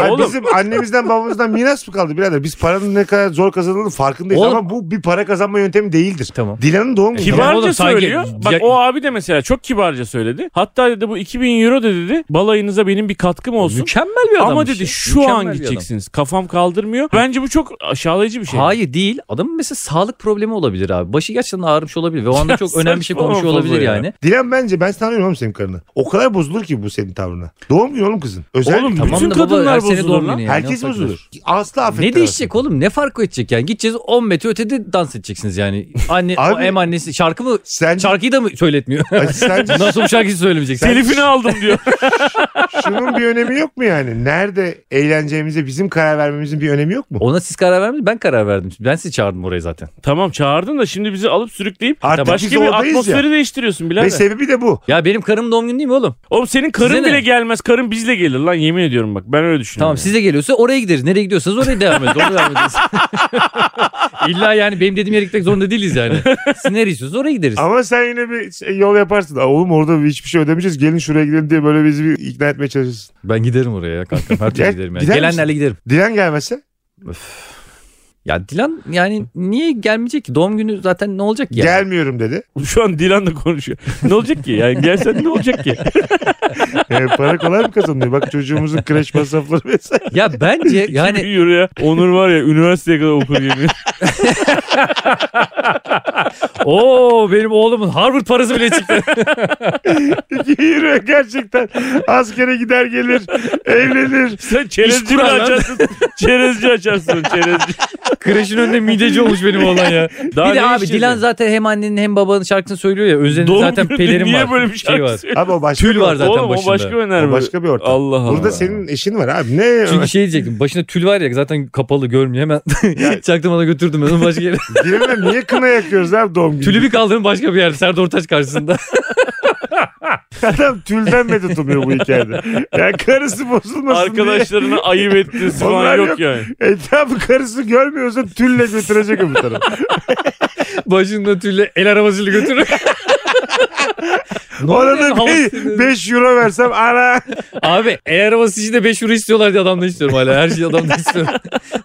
[SPEAKER 1] Ay
[SPEAKER 3] Oğlum.
[SPEAKER 1] bizim annemizden babamızdan miras mı kaldı birader? Biz paranın ne kadar zor kazanıldığının farkındayız
[SPEAKER 2] Oğlum-
[SPEAKER 1] ama bu bir para kazanma yöntemi değildir.
[SPEAKER 2] [laughs] Tamam.
[SPEAKER 1] Dilan'ın doğum günü.
[SPEAKER 2] Kibar-
[SPEAKER 3] Kibarca
[SPEAKER 2] oğlum, sanki-
[SPEAKER 3] söylüyor. Bak
[SPEAKER 2] Ya-
[SPEAKER 3] o abi de mesela çok kibarca söyledi. Hatta dedi bu 2000 euro da dedi balayınıza benim bir katkım olsun.
[SPEAKER 2] Mükemmel bir şey. adam.
[SPEAKER 3] Ama dedi şu an gideceksiniz. Kafam kaldırmıyor. Bence bu çok aşağılayıcı bir şey.
[SPEAKER 2] Hayır değil. Adamın mesela sağlık problemi olabilir abi. Başı gerçekten ağrımış olabilir ve o anda
[SPEAKER 3] Ya
[SPEAKER 2] çok önemli bir şey
[SPEAKER 3] saçmalama
[SPEAKER 2] konuşuyor olabilir
[SPEAKER 3] fazla ya.
[SPEAKER 2] yani.
[SPEAKER 1] Dilan bence ben tanıyorum oğlum senin karını. O kadar bozulur ki bu senin tavrına. Doğum günü oğlum kızın. Özel
[SPEAKER 3] Oğlum,
[SPEAKER 1] tamam.
[SPEAKER 3] Bütün
[SPEAKER 2] da baba,
[SPEAKER 3] kadınlar
[SPEAKER 2] her sene
[SPEAKER 3] bozulur
[SPEAKER 2] doğum
[SPEAKER 3] lan.
[SPEAKER 2] günü yani.
[SPEAKER 1] Herkes
[SPEAKER 2] Ne yapacak?
[SPEAKER 1] bozulur. Asla affetmez.
[SPEAKER 2] Ne değişecek oğlum? Ne farkı edecek yani? Gideceğiz 10 metre ötede dans edeceksiniz yani. Anne, o
[SPEAKER 1] Abi-
[SPEAKER 2] hem annesi şarkı mı?
[SPEAKER 1] Sence,
[SPEAKER 2] Şarkıyı da mı söyletmiyor? [laughs]
[SPEAKER 1] Ay, sence
[SPEAKER 2] Nasıl bu şarkıyı söylemeyeceksin?
[SPEAKER 3] Telifini aldım diyor. [laughs]
[SPEAKER 1] şunun bir önemi yok mu yani? Nerede eğleneceğimize bizim karar vermemizin bir önemi yok mu?
[SPEAKER 2] Ona siz karar vermediniz ben karar verdim. Ben sizi çağırdım oraya zaten.
[SPEAKER 3] tamam çağırdın da şimdi bizi alıp sürükleyip
[SPEAKER 1] Artık biz
[SPEAKER 3] başka bir
[SPEAKER 1] oradayız
[SPEAKER 3] atmosferi değiştiriyorsun
[SPEAKER 1] Ve
[SPEAKER 3] birader.
[SPEAKER 1] sebebi de bu.
[SPEAKER 2] Ya benim karım doğum günü değil mi oğlum?
[SPEAKER 3] Oğlum senin karın
[SPEAKER 2] Size ne?
[SPEAKER 3] bile gelmez. Karın bizle gelir lan yemin ediyorum bak. Ben öyle
[SPEAKER 2] Tamam
[SPEAKER 3] düşünüyorum.
[SPEAKER 2] siz de geliyorsa oraya gideriz. Nereye gidiyorsanız oraya devam edin. Oraya devam ederiz.
[SPEAKER 3] [laughs]
[SPEAKER 2] İlla yani benim dediğim yere gitmek zorunda değiliz yani. Siz nereye istiyorsanız oraya gideriz.
[SPEAKER 1] Ama sen yine bir şey- yol yaparsın. Aa, oğlum orada hiçbir şey ödemeyeceğiz. Gelin şuraya gidelim diye böyle bizi bir ikna etmeye çalışırsın.
[SPEAKER 2] Ben giderim oraya ya kankam. Her türlü
[SPEAKER 1] Gel-
[SPEAKER 2] giderim yani.
[SPEAKER 1] gider
[SPEAKER 2] Gelenlerle giderim.
[SPEAKER 1] Dilan gelmezse?
[SPEAKER 2] Ya Dilan yani niye gelmeyecek ki? Doğum günü zaten ne olacak ki? yani?
[SPEAKER 1] Gelmiyorum dedi.
[SPEAKER 3] [laughs] Şu an Dilan da konuşuyor. ne olacak ki? Yani gelsen ne olacak ki?
[SPEAKER 1] Ee, para kolay mı kazanıyor? Bak çocuğumuzun kreş masrafları vesaire. [laughs]
[SPEAKER 2] Ya [laughs] bence [laughs] yani
[SPEAKER 3] 2000 euroya Onur var ya üniversiteye kadar okur yemin.
[SPEAKER 2] Oo benim oğlumun Harvard parası bile çıktı.
[SPEAKER 1] İki euro gerçekten. Askere gider gelir. Evlenir.
[SPEAKER 3] Sen çerezci mi
[SPEAKER 2] kurar lan.
[SPEAKER 3] [laughs] açarsın? çerezci açarsın çerezci.
[SPEAKER 2] Kreşin önünde mideci olmuş benim oğlan ya.
[SPEAKER 3] Daha
[SPEAKER 2] bir
[SPEAKER 3] ne
[SPEAKER 2] de abi
[SPEAKER 3] işleyecek?
[SPEAKER 2] Dilan zaten hem annenin hem babanın şarkısını söylüyor ya. Özelinde
[SPEAKER 3] Doğum
[SPEAKER 2] zaten
[SPEAKER 3] günü
[SPEAKER 2] pelerin
[SPEAKER 3] niye
[SPEAKER 2] var.
[SPEAKER 3] böyle bir
[SPEAKER 2] Şey
[SPEAKER 3] şarkı
[SPEAKER 2] var.
[SPEAKER 3] söylüyor?
[SPEAKER 1] Abi o başka
[SPEAKER 2] Tül
[SPEAKER 1] bir
[SPEAKER 2] var
[SPEAKER 1] ortam.
[SPEAKER 2] zaten
[SPEAKER 3] Oğlum
[SPEAKER 2] başında.
[SPEAKER 3] o başka
[SPEAKER 1] O
[SPEAKER 3] önerme.
[SPEAKER 1] başka bir ortam.
[SPEAKER 3] Allah Allah.
[SPEAKER 1] Burada senin eşin var abi. Ne?
[SPEAKER 2] Çünkü şey diyecektim. Başında tül var ya zaten kapalı görmüyor. Hemen [laughs] çaktım ona götürdüm. Onu başka [laughs] yere.
[SPEAKER 1] Dilan'a niye kına yakıyoruz abi doğum günü?
[SPEAKER 2] Tülü bir kaldırdım başka bir yerde. Serdar Ortaç [laughs] karşısında.
[SPEAKER 1] Adam tülden medet umuyor bu hikayede. Yani karısı bozulmasın diye.
[SPEAKER 3] Arkadaşlarına
[SPEAKER 1] [laughs]
[SPEAKER 3] ayıp ettiğiniz
[SPEAKER 1] Onlar
[SPEAKER 3] falan yok,
[SPEAKER 1] yok.
[SPEAKER 3] yani.
[SPEAKER 1] Etrafı karısı görmüyorsa tülle götürecek öbür taraf.
[SPEAKER 2] başında tülle el arabasıyla götürür. Ne oluyor?
[SPEAKER 1] Ona da
[SPEAKER 2] Havası-
[SPEAKER 1] 5 euro versem ana
[SPEAKER 2] Abi el arabası için de 5 euro istiyorlar diye adamdan istiyorum hala. Her şeyi
[SPEAKER 1] [laughs]
[SPEAKER 2] adamdan istiyorum.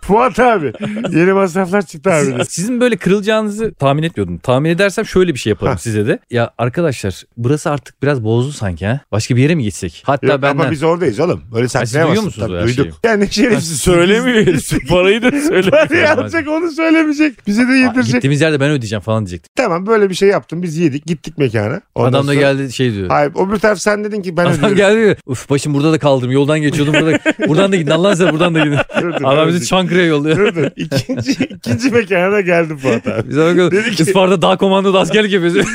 [SPEAKER 1] Fuat abi. Yeni masraflar çıktı abi. de.
[SPEAKER 2] Siz- sizin böyle kırılacağınızı tahmin etmiyordum. Tahmin edersem şöyle bir şey yaparım
[SPEAKER 1] Ha.
[SPEAKER 2] size de. Ya arkadaşlar burası artık biraz bozdu sanki ha. Başka bir yere mi gitsek? Hatta
[SPEAKER 1] Yok,
[SPEAKER 2] benden.
[SPEAKER 1] ama biz oradayız oğlum. Böyle
[SPEAKER 2] siz
[SPEAKER 1] saklayamazsın.
[SPEAKER 2] duyuyor musunuz
[SPEAKER 1] Tabii,
[SPEAKER 2] her
[SPEAKER 1] duyduk.
[SPEAKER 2] şeyi?
[SPEAKER 1] Yani ne şerefsiz. [laughs]
[SPEAKER 3] Söylemiyor. herif. Parayı da söyle.
[SPEAKER 1] Parayı alacak onu söylemeyecek. Bize de
[SPEAKER 2] Aa,
[SPEAKER 1] yedirecek.
[SPEAKER 2] Gittiğimiz yerde ben ödeyeceğim falan diyecektim.
[SPEAKER 1] Tamam böyle bir şey yaptım. Biz yedik gittik mekana. Ondan
[SPEAKER 2] Adam da
[SPEAKER 1] sonra-
[SPEAKER 2] geldi de şey diyor.
[SPEAKER 1] Hayır öbür taraf sen dedin ki ben
[SPEAKER 2] Adam
[SPEAKER 1] ödüyorum.
[SPEAKER 2] geldi diyor. Uf başım burada da kaldım. Yoldan
[SPEAKER 1] [laughs]
[SPEAKER 2] geçiyordum. Burada, buradan da gidin. Allah'ın sen buradan da gidin.
[SPEAKER 1] Dur, dur,
[SPEAKER 2] Adam
[SPEAKER 1] ben
[SPEAKER 2] bizi
[SPEAKER 1] ödeyeyim.
[SPEAKER 2] Çankırı'ya yolluyor.
[SPEAKER 1] Dur dur. İkinci, [laughs] ikinci mekana da geldim Fuat abi.
[SPEAKER 2] Biz ona bakıyoruz.
[SPEAKER 1] Dedi ki-
[SPEAKER 2] Isparta dağ komandoda
[SPEAKER 1] [laughs]
[SPEAKER 2] askerlik yapıyoruz.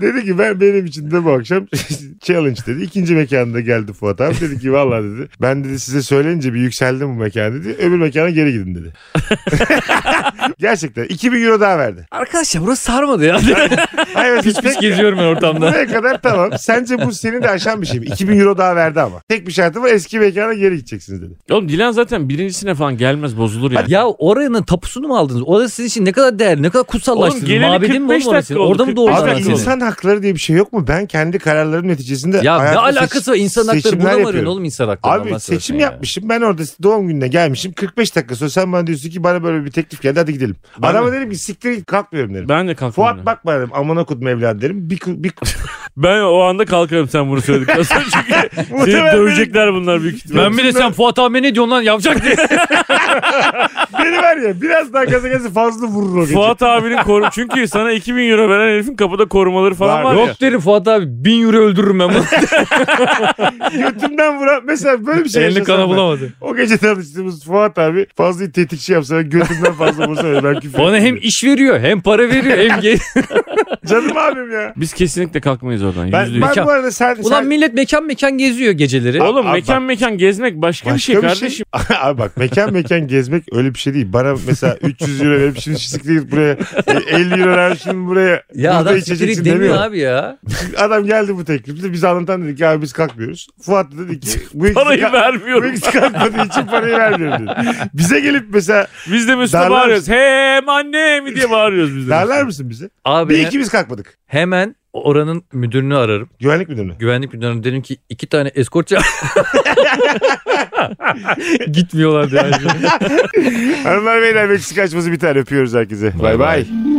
[SPEAKER 1] Dedi ki ben benim için de bu akşam [laughs] challenge dedi. İkinci mekanda geldi Fuat abi. Dedi ki vallahi dedi. Ben dedi size söyleyince bir yükseldim bu mekan dedi. Öbür mekana geri gidin
[SPEAKER 2] [laughs]
[SPEAKER 1] dedi. Gerçekten 2000 euro daha verdi.
[SPEAKER 2] Arkadaşlar burası sarmadı
[SPEAKER 1] [laughs]
[SPEAKER 2] ya.
[SPEAKER 1] Hayır evet,
[SPEAKER 2] Pis pis geziyorum ben ortamda.
[SPEAKER 1] Buraya kadar tamam. Sence bu seni de aşan bir şey mi? 2000 euro daha verdi ama. Tek bir şartı var eski mekana geri gideceksiniz dedi.
[SPEAKER 3] Oğlum Dilan zaten birincisine falan gelmez bozulur yani.
[SPEAKER 2] [laughs] Ya oranın tapusunu mu aldınız? Orada sizin için ne kadar değerli, ne kadar
[SPEAKER 3] Oğlum
[SPEAKER 2] kutsallaştırdı.
[SPEAKER 3] geleli
[SPEAKER 2] Mabedin mi
[SPEAKER 3] 45
[SPEAKER 2] oğlum orası?
[SPEAKER 3] dakika oldu,
[SPEAKER 2] Orada mı
[SPEAKER 3] 45
[SPEAKER 2] doğurdular
[SPEAKER 1] Abi
[SPEAKER 3] dakika
[SPEAKER 2] seni?
[SPEAKER 1] insan hakları diye bir şey yok mu? Ben kendi kararlarım neticesinde
[SPEAKER 2] Ya ne
[SPEAKER 1] hayatımda seç-
[SPEAKER 2] alakası var? İnsan hakları
[SPEAKER 1] seçimler
[SPEAKER 2] burada mı
[SPEAKER 1] yapıyorum.
[SPEAKER 2] arıyorsun oğlum insan hakları?
[SPEAKER 1] Abi seçim yapmışım. Ben orada doğum gününe gelmişim. 45 dakika sonra sen bana diyorsun ki bana böyle bir teklif geldi hadi gidelim. Adama
[SPEAKER 3] mi?
[SPEAKER 1] dedim ki siktir git kalkmıyorum derim.
[SPEAKER 3] Ben de kalkarım.
[SPEAKER 1] Fuat bak bana dedim amına kodum evladım derim. Bir, kı-
[SPEAKER 2] [laughs]
[SPEAKER 1] bir,
[SPEAKER 3] Ben o anda kalkarım sen bunu
[SPEAKER 1] [laughs]
[SPEAKER 3] söyledikten sonra. Çünkü seni
[SPEAKER 1] Muhtemelen
[SPEAKER 3] dövecekler bunlar büyük ihtimalle.
[SPEAKER 2] Ben bir de sen Fuat abi ne diyorsun lan yapacak diye.
[SPEAKER 1] beni var ya biraz daha gaza gelse fazla vurur o gece.
[SPEAKER 3] Fuat abinin koru çünkü sana 2000 euro veren herifin kapıda korumaları falan var,
[SPEAKER 1] Var,
[SPEAKER 3] ya.
[SPEAKER 2] Yok derim Fuat abi bin euro öldürürüm ben bunu.
[SPEAKER 1] Götümden vuran mesela böyle bir şey
[SPEAKER 2] Elini
[SPEAKER 1] yaşasam
[SPEAKER 2] kana
[SPEAKER 1] ben.
[SPEAKER 2] bulamadı.
[SPEAKER 1] O gece tanıştığımız Fuat abi fazla tetikçi yapsa ve götümden fazla vursa öyle ben küfür
[SPEAKER 2] Bana hem
[SPEAKER 1] ederim.
[SPEAKER 2] iş veriyor hem para veriyor hem ge-
[SPEAKER 1] Canım abim ya.
[SPEAKER 3] Biz kesinlikle kalkmayız oradan. yüzde
[SPEAKER 1] Ben,
[SPEAKER 3] yüz.
[SPEAKER 1] ben
[SPEAKER 2] Mekan-
[SPEAKER 1] bu arada sen...
[SPEAKER 2] [laughs] Ulan
[SPEAKER 1] sen-
[SPEAKER 2] millet mekan mekan geziyor geceleri.
[SPEAKER 3] Oğlum
[SPEAKER 1] Abi
[SPEAKER 3] mekan mekan gezmek başka, bir şey kardeşim.
[SPEAKER 1] [laughs] Abi bak mekan mekan gezmek öyle bir şey değil. Bana
[SPEAKER 3] [laughs]
[SPEAKER 1] mesela 300 euro verip şimdi siktir buraya e, 50 euro ver şimdi buraya.
[SPEAKER 2] ya
[SPEAKER 1] burada
[SPEAKER 2] adam
[SPEAKER 1] içeceksin
[SPEAKER 2] sikiri demiyor abi ya.
[SPEAKER 1] Adam geldi bu teklifle. Biz anlatan dedik ki abi biz kalkmıyoruz. Fuat da dedi ki bu ikisi,
[SPEAKER 3] Parayı
[SPEAKER 1] ka- bu
[SPEAKER 3] vermiyorum.
[SPEAKER 1] ikisi kalkmadığı için parayı vermiyorum dedi. Bize gelip mesela
[SPEAKER 3] Biz de Mesut'a
[SPEAKER 1] Darlar
[SPEAKER 3] bağırıyoruz. Hem anne mi diye bağırıyoruz biz de.
[SPEAKER 1] derler misin bize?
[SPEAKER 2] Abi
[SPEAKER 1] Bir ikimiz kalkmadık.
[SPEAKER 2] hemen oranın müdürünü ararım.
[SPEAKER 1] Güvenlik müdürünü.
[SPEAKER 2] Güvenlik müdürüne dedim ki iki tane eskort çağır. [laughs] Gitmiyorlar yani.
[SPEAKER 1] Hanımlar beyler Meksika açması biter. Öpüyoruz herkese. Bay bay.